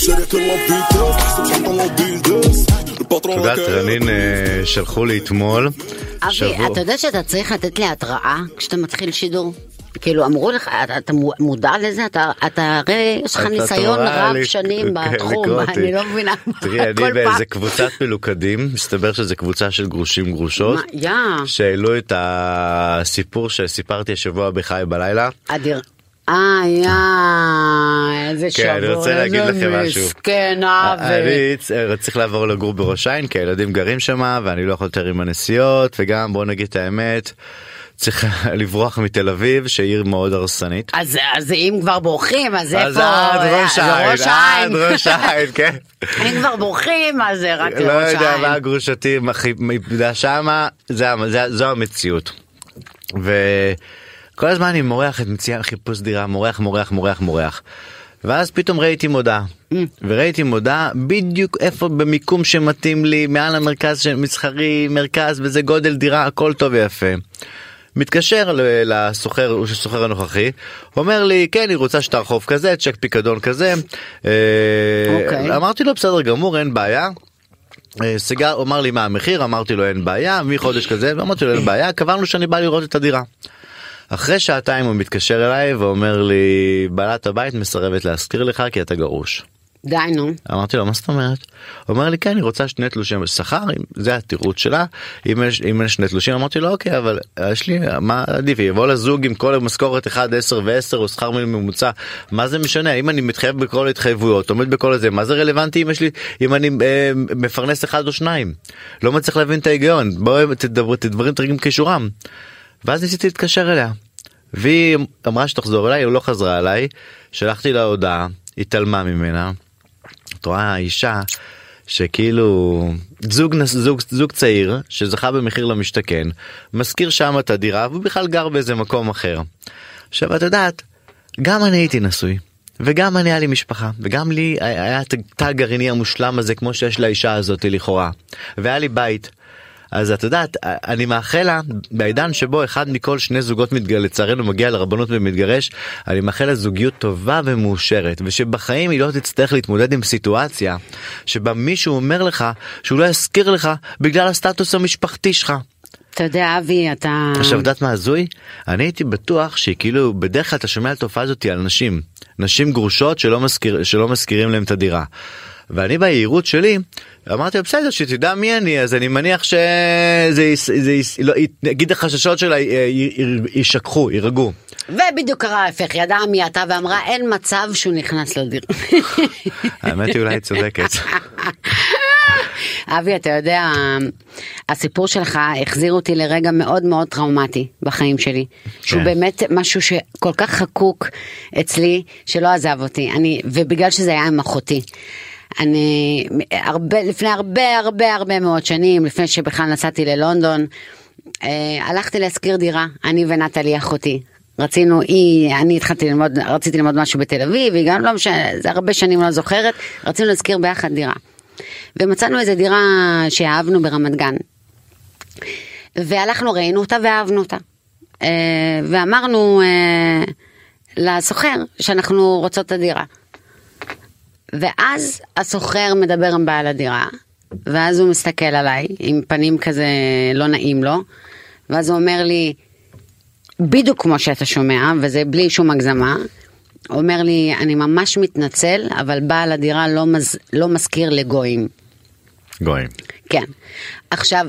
Speaker 5: شركة لا فيتاس حسب شنطة لا بيلداس الباترون
Speaker 2: את יודעת, רנין אה, שלחו לי אתמול,
Speaker 3: אבי, אתה יודע שאתה צריך לתת לי התראה כשאתה מתחיל שידור? כאילו אמרו לך, אתה, אתה מודע לזה? אתה, אתה הרי יש לך
Speaker 2: אתה
Speaker 3: ניסיון
Speaker 2: תורה
Speaker 3: רב
Speaker 2: לי-
Speaker 3: שנים
Speaker 2: כן,
Speaker 3: בתחום,
Speaker 2: לקרוא אותי.
Speaker 3: אני לא מבינה
Speaker 2: תראי,
Speaker 3: כל
Speaker 2: אני
Speaker 3: פעם.
Speaker 2: באיזה קבוצת מלוכדים, מסתבר שזו קבוצה של גרושים גרושות,
Speaker 3: מה, יא.
Speaker 2: שהעלו את הסיפור שסיפרתי השבוע בחי בלילה.
Speaker 3: אדיר. אה, יא, איזה
Speaker 2: כן,
Speaker 3: שבור,
Speaker 2: אני רוצה להגיד
Speaker 3: איזה
Speaker 2: לכם משהו.
Speaker 3: מסכן עוול.
Speaker 2: אני צ- אה, צריך לעבור לגור בראש העין כי הילדים גרים שם ואני לא יכול יותר עם הנסיעות וגם בוא נגיד את האמת צריך לברוח מתל אביב שהיא עיר מאוד הרסנית.
Speaker 3: אז אז אם כבר בורחים, אז איפה?
Speaker 2: אז עד ראש
Speaker 3: אה, זה
Speaker 2: העין,
Speaker 3: ראש
Speaker 2: עד
Speaker 3: העין.
Speaker 2: ראש העין, כן.
Speaker 3: אם כבר בורחים, אז זה רק
Speaker 2: לא
Speaker 3: לראש
Speaker 2: יודע מה
Speaker 3: העין.
Speaker 2: הגרושתי איבדה שמה, זה המ- זה- זו המציאות. וכל הזמן אני מורח את מציאה חיפוש דירה, מורח, מורח, מורח, מורח. ואז פתאום ראיתי מודעה, וראיתי מודעה בדיוק איפה במיקום שמתאים לי, מעל המרכז שמסחרי, מרכז וזה גודל דירה, הכל טוב ויפה. מתקשר ל- לסוחר, הוא הסוחר הנוכחי, אומר לי כן היא רוצה שטר חוב כזה, צ'ק פיקדון כזה. אה,
Speaker 3: אוקיי.
Speaker 2: אמרתי לו בסדר גמור אין בעיה. אה, סיגר הוא אמר לי מה המחיר אמרתי לו אין בעיה מחודש כזה אמרתי לו אין בעיה קבענו שאני בא לראות את הדירה. אחרי שעתיים הוא מתקשר אליי ואומר לי בעלת הבית מסרבת להשכיר לך כי אתה גרוש.
Speaker 3: די נו.
Speaker 2: אמרתי לו מה זאת אומרת? הוא אומר לי כן היא רוצה שני תלושי שכר אם- זה התירוץ שלה אם יש אם אין שני תלושים אמרתי לו אוקיי אבל יש לי מה עדיף יבוא לזוג עם כל המשכורת 1 10 ו10 או שכר מינימום ממוצע מה זה משנה אם אני מתחייב בכל ההתחייבויות עומד בכל הזה מה זה רלוונטי אם יש לי אם אני אה, מפרנס אחד או שניים לא מצליח להבין את ההיגיון בואו תדברו תדברים תרגים כשורם. ואז ניסיתי להתקשר אליה. והיא אמרה שתחזור אליי, היא לא חזרה אליי, שלחתי לה הודעה, התעלמה ממנה. את רואה אישה שכאילו זוג, נס- זוג, זוג צעיר שזכה במחיר למשתכן, משכיר שם את הדירה והוא בכלל גר באיזה מקום אחר. עכשיו את יודעת, גם אני הייתי נשוי. וגם אני היה לי משפחה, וגם לי היה את התא הגרעיני המושלם הזה כמו שיש לאישה הזאת לכאורה, והיה לי בית, אז את יודעת, אני מאחל לה, בעידן שבו אחד מכל שני זוגות מתגר... לצערנו מגיע לרבנות ומתגרש, אני מאחל לה זוגיות טובה ומאושרת, ושבחיים היא לא תצטרך להתמודד עם סיטואציה שבה מישהו אומר לך שהוא לא יזכיר לך בגלל הסטטוס המשפחתי שלך.
Speaker 3: אתה יודע, אבי, אתה...
Speaker 2: עכשיו, את יודעת מה הזוי? אני הייתי בטוח שהיא כאילו, בדרך כלל אתה שומע על התופעה הזאת על נשים. נשים גרושות שלא, מזכיר, שלא מזכירים להם את הדירה. ואני ביהירות שלי, אמרתי לו בסדר שתדע מי אני אז אני מניח שזה יס- זה יס- לא, היא- נגיד החששות שלה אה, י- י- י- יישכחו יירגעו.
Speaker 3: ובדיוק קרה ההפך, ידעה מי אתה ואמרה אין מצב שהוא נכנס לדירה.
Speaker 2: האמת היא אולי היא צודקת.
Speaker 3: אבי, אתה יודע, הסיפור שלך החזיר אותי לרגע מאוד מאוד טראומטי בחיים שלי. שהוא
Speaker 2: כן.
Speaker 3: באמת משהו שכל כך חקוק אצלי, שלא עזב אותי. אני, ובגלל שזה היה עם אחותי. אני, הרבה, לפני הרבה הרבה הרבה מאוד שנים, לפני שבכלל נסעתי ללונדון, אה, הלכתי להשכיר דירה, אני ונטלי אחותי. רצינו, היא, אני התחלתי ללמוד, רציתי ללמוד משהו בתל אביב, היא גם לא משנה, זה הרבה שנים לא זוכרת, רצינו להשכיר ביחד דירה. ומצאנו איזה דירה שאהבנו ברמת גן. והלכנו, ראינו אותה ואהבנו אותה. אה, ואמרנו אה, לסוחר שאנחנו רוצות את הדירה. ואז הסוחר מדבר עם בעל הדירה, ואז הוא מסתכל עליי עם פנים כזה לא נעים לו, ואז הוא אומר לי, בדיוק כמו שאתה שומע, וזה בלי שום הגזמה, הוא אומר לי, אני ממש מתנצל, אבל בעל הדירה לא, מז... לא מזכיר לגויים.
Speaker 2: גויים.
Speaker 3: כן. עכשיו,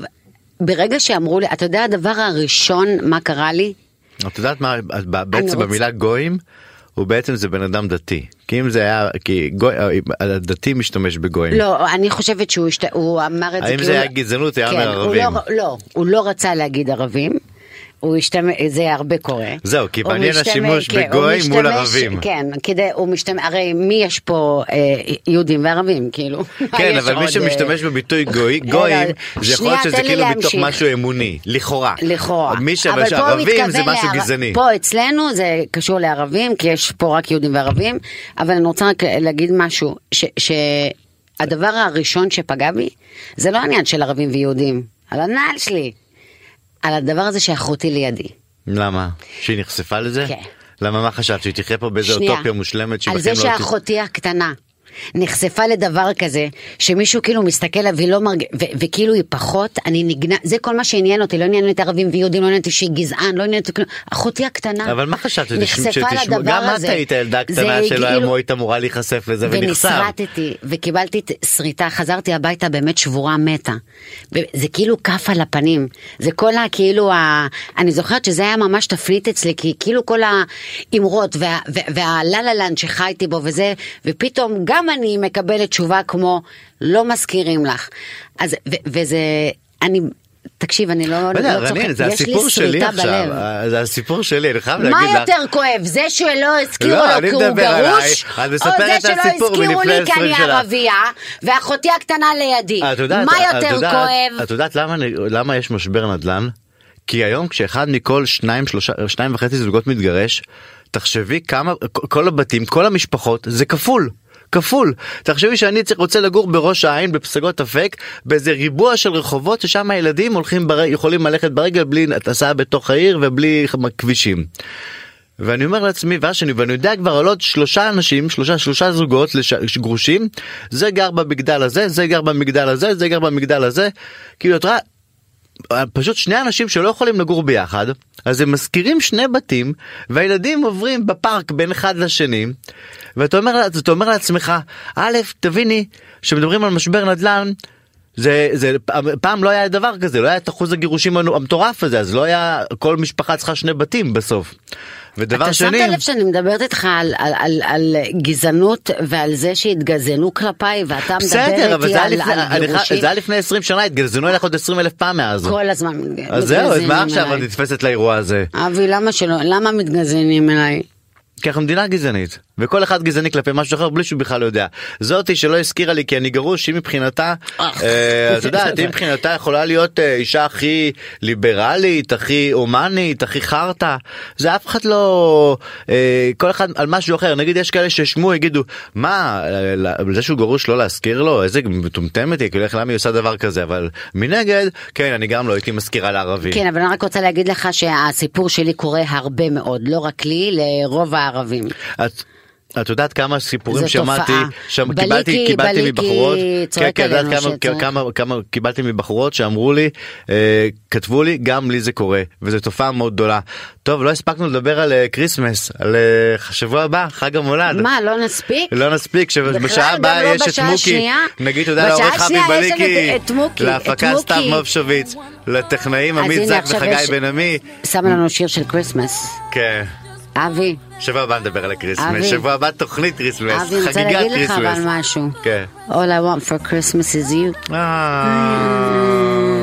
Speaker 3: ברגע שאמרו לי, אתה יודע הדבר הראשון מה קרה לי?
Speaker 2: את יודעת מה את ב- בעצם
Speaker 3: רוצה-
Speaker 2: במילה גויים הוא בעצם זה בן אדם דתי כי אם זה היה כי גוי אה, הדתי משתמש בגויים.
Speaker 3: לא, אני חושבת שהוא השת... הוא אמר את זה
Speaker 2: כן. האם
Speaker 3: כי
Speaker 2: זה
Speaker 3: הוא-
Speaker 2: היה גזענות? היה אומר
Speaker 3: הוא
Speaker 2: ערבים.
Speaker 3: לא, לא, הוא לא רצה להגיד ערבים. הוא השתמש, זה הרבה קורה.
Speaker 2: זהו, כי
Speaker 3: הוא
Speaker 2: מעניין
Speaker 3: משתמש-
Speaker 2: השימוש
Speaker 3: כן, הוא
Speaker 2: בגוי מול
Speaker 3: משתמש-
Speaker 2: ערבים.
Speaker 3: כן, כדי, הוא משתמש, הרי מי יש פה אה, יהודים וערבים, כאילו? מה
Speaker 2: כן
Speaker 3: יש
Speaker 2: אבל
Speaker 3: עוד,
Speaker 2: מי שמשתמש
Speaker 3: אה,
Speaker 2: בביטוי גוי
Speaker 3: אה,
Speaker 2: גויים
Speaker 3: לא,
Speaker 2: זה יכול להיות
Speaker 3: שנייה,
Speaker 2: שזה
Speaker 3: תן לי
Speaker 2: כאילו מתוך
Speaker 3: להמשיך.
Speaker 2: משהו אמוני לכאורה.
Speaker 3: לכאורה.
Speaker 2: מי ש-
Speaker 3: אבל פה הוא
Speaker 2: שערבים זה
Speaker 3: מתכוון
Speaker 2: משהו
Speaker 3: לערב-
Speaker 2: גזעני.
Speaker 3: פה אצלנו זה קשור לערבים, כי יש פה רק יהודים וערבים, אבל אני רוצה רק להגיד משהו, ש- שהדבר הראשון שפגע בי, זה לא העניין של ערבים ויהודים, על הנעל שלי, על הדבר הזה שאחותי לידי.
Speaker 2: למה? שהיא נחשפה לזה?
Speaker 3: כן.
Speaker 2: למה מה חשבת שהיא תחיה פה באיזו
Speaker 3: שנייה.
Speaker 2: אוטופיה מושלמת
Speaker 3: על זה
Speaker 2: שבחיים לא תצא-
Speaker 3: שאחותי הקטנה נחשפה לדבר כזה, שמישהו כאילו מסתכל עליו והיא לא מרגיש, וכאילו היא פחות, אני נגנה, זה כל מה שעניין אותי, לא עניין אותי ערבים ויהודים, לא עניין אותי שהיא גזען, לא עניין אותי כלום, אחותי הקטנה
Speaker 2: אבל מה חשבת שתשמע,
Speaker 3: נחשפה
Speaker 2: שתשמע-
Speaker 3: לדבר
Speaker 2: גם את
Speaker 3: הזה.
Speaker 2: היית ילדה
Speaker 3: זה
Speaker 2: קטנה שלא היה
Speaker 3: כאילו-
Speaker 2: מועית אמורה להיחשף לזה ונחשף.
Speaker 3: ונסרטתי, וקיבלתי ת- שריטה, חזרתי הביתה באמת שבורה מתה. ו- זה כאילו כף על הפנים, זה כל ה... כאילו ה... אני זוכרת שזה היה ממש תפנית אצלי, כי כאילו כל האמרות וה- וה- והלה-לה-לנד שחייתי בו וזה, ופתאום גם אני מקבלת תשובה כמו לא מזכירים לך. אז, ו- וזה... אני... תקשיב, אני לא,
Speaker 2: לא יודע,
Speaker 3: לא
Speaker 2: רנין,
Speaker 3: צוחקת,
Speaker 2: זה
Speaker 3: יש לי
Speaker 2: הסיפור שלי
Speaker 3: שריטה
Speaker 2: עכשיו,
Speaker 3: בלב.
Speaker 2: אה, זה הסיפור שלי, אני חייב
Speaker 3: מה
Speaker 2: להגיד לך.
Speaker 3: יותר כואב, זה שלא הזכירו
Speaker 2: לא,
Speaker 3: לו
Speaker 2: אני
Speaker 3: כי הוא
Speaker 2: מדבר עליי.
Speaker 3: גרוש,
Speaker 2: את
Speaker 3: או
Speaker 2: מספרת
Speaker 3: זה
Speaker 2: את
Speaker 3: שלא
Speaker 2: הסיפור
Speaker 3: הזכירו
Speaker 2: מלפני
Speaker 3: לי כי
Speaker 2: 20
Speaker 3: אני
Speaker 2: שנה.
Speaker 3: ערבייה, ואחותי הקטנה לידי.
Speaker 2: אה, את יודעת-
Speaker 3: מה
Speaker 2: את
Speaker 3: יותר
Speaker 2: יודעת-
Speaker 3: כואב?
Speaker 2: את יודעת למה אני- למה יש משבר נדל"ן? כי היום כשאחד מכל שניים שלושה שניים וחצי זוגות מתגרש, תחשבי כמה כל הבתים כל המשפחות זה כפול. כפול תחשבי שאני צריך רוצה לגור בראש העין בפסגות אפק באיזה ריבוע של רחובות ששם הילדים הולכים בר... יכולים ללכת ברגל בלי הטסה בתוך העיר ובלי כבישים. ואני אומר לעצמי ואז שאני ואני יודע כבר על עוד שלושה אנשים שלושה שלושה זוגות לש, גרושים זה גר במגדל הזה זה גר במגדל הזה זה גר במגדל הזה כאילו את רואה פשוט שני אנשים שלא יכולים לגור ביחד אז הם משכירים שני בתים והילדים עוברים בפארק בין אחד לשני ואתה אומר, אז אתה אומר לעצמך א' תביני שמדברים על משבר נדל"ן. זה זה פעם לא היה דבר כזה לא היה את אחוז הגירושים הנו- המטורף הזה אז לא היה כל משפחה צריכה שני בתים בסוף. ודבר
Speaker 3: אתה
Speaker 2: שני
Speaker 3: שמת לב שאני מדברת איתך על, על, על, על גזענות ועל זה שהתגזענו כלפיי, ואתה מדבר
Speaker 2: בסדר אבל
Speaker 3: איתי
Speaker 2: זה היה
Speaker 3: על,
Speaker 2: לפני-
Speaker 3: על
Speaker 2: אני חי-
Speaker 3: גירושים
Speaker 2: זה היה לפני 20 שנה התגזנו אליך עוד 20 אלף פעם מאז.
Speaker 3: כל הזמן.
Speaker 2: אז זהו אז מה
Speaker 3: מתגזענים
Speaker 2: עכשיו את
Speaker 3: אליי.
Speaker 2: נתפסת לאירוע הזה.
Speaker 3: אבי, למה שלא, למה מתגזענים אליי?
Speaker 2: כי אנחנו מדינה גזענית וכל אחד גזעני כלפי משהו אחר בלי שהוא בכלל לא יודע זאתי שלא הזכירה לי כי אני גרוש היא מבחינתה אה, את יודעת היא מבחינתה יכולה להיות אה, אישה הכי ליברלית הכי הומנית הכי חרטא זה אף אחד לא אה, כל אחד על משהו אחר נגיד יש כאלה שישמעו יגידו מה אה, ל- זה שהוא גרוש לא להזכיר לו איזה מטומטמת היא כאילו איך למה היא עושה דבר כזה אבל מנגד כן אני גם לא הייתי מזכירה לערבים.
Speaker 3: כן, אבל אני רק רוצה להגיד לך שהסיפור שלי קורה הרבה מאוד, לא רק לי, לרוב הערבים.
Speaker 2: את... את יודעת כמה סיפורים
Speaker 3: זו
Speaker 2: שמעתי,
Speaker 3: תופעה.
Speaker 2: שם
Speaker 3: בליקי-
Speaker 2: קיבלתי, קיבלתי
Speaker 3: בליקי
Speaker 2: מבחורות, כן,
Speaker 3: צועק
Speaker 2: את יודעת
Speaker 3: עלינו
Speaker 2: כמה,
Speaker 3: שצועק.
Speaker 2: כמה, כמה קיבלתי מבחורות שאמרו לי, אה, כתבו לי, גם לי זה קורה, וזו תופעה מאוד גדולה. טוב, לא הספקנו לדבר על אה, כריסמס, על אה, שבוע הבא, חג המולד.
Speaker 3: מה, לא נספיק?
Speaker 2: לא נספיק שבשעה
Speaker 3: בכלל, גם
Speaker 2: הבאה
Speaker 3: לא
Speaker 2: יש את
Speaker 3: בשעה
Speaker 2: מוקי,
Speaker 3: השנייה.
Speaker 2: נגיד תודה
Speaker 3: בשעה
Speaker 2: לעורך אבי
Speaker 3: השנייה יש לנו
Speaker 2: בליקי,
Speaker 3: את- את מוקי, את
Speaker 2: להפקה סתיו
Speaker 3: מוקי.
Speaker 2: מובשוביץ, לטכנאים
Speaker 3: אז
Speaker 2: עמית
Speaker 3: הנה,
Speaker 2: זק
Speaker 3: עכשיו
Speaker 2: וחגי
Speaker 3: יש-
Speaker 2: בן עמי,
Speaker 3: שם לנו שיר של כריסמס.
Speaker 2: כן.
Speaker 3: אבי,
Speaker 2: שבוע הבא נדבר על הקריסמס,
Speaker 3: אבי.
Speaker 2: שבוע הבא תוכנית קריסמס,
Speaker 3: אבי, אני רוצה
Speaker 2: חגיגת
Speaker 3: להגיד לך
Speaker 2: קריסמס.
Speaker 3: אבל משהו.
Speaker 2: כן.
Speaker 3: All I want for Christmas is you.
Speaker 2: אה.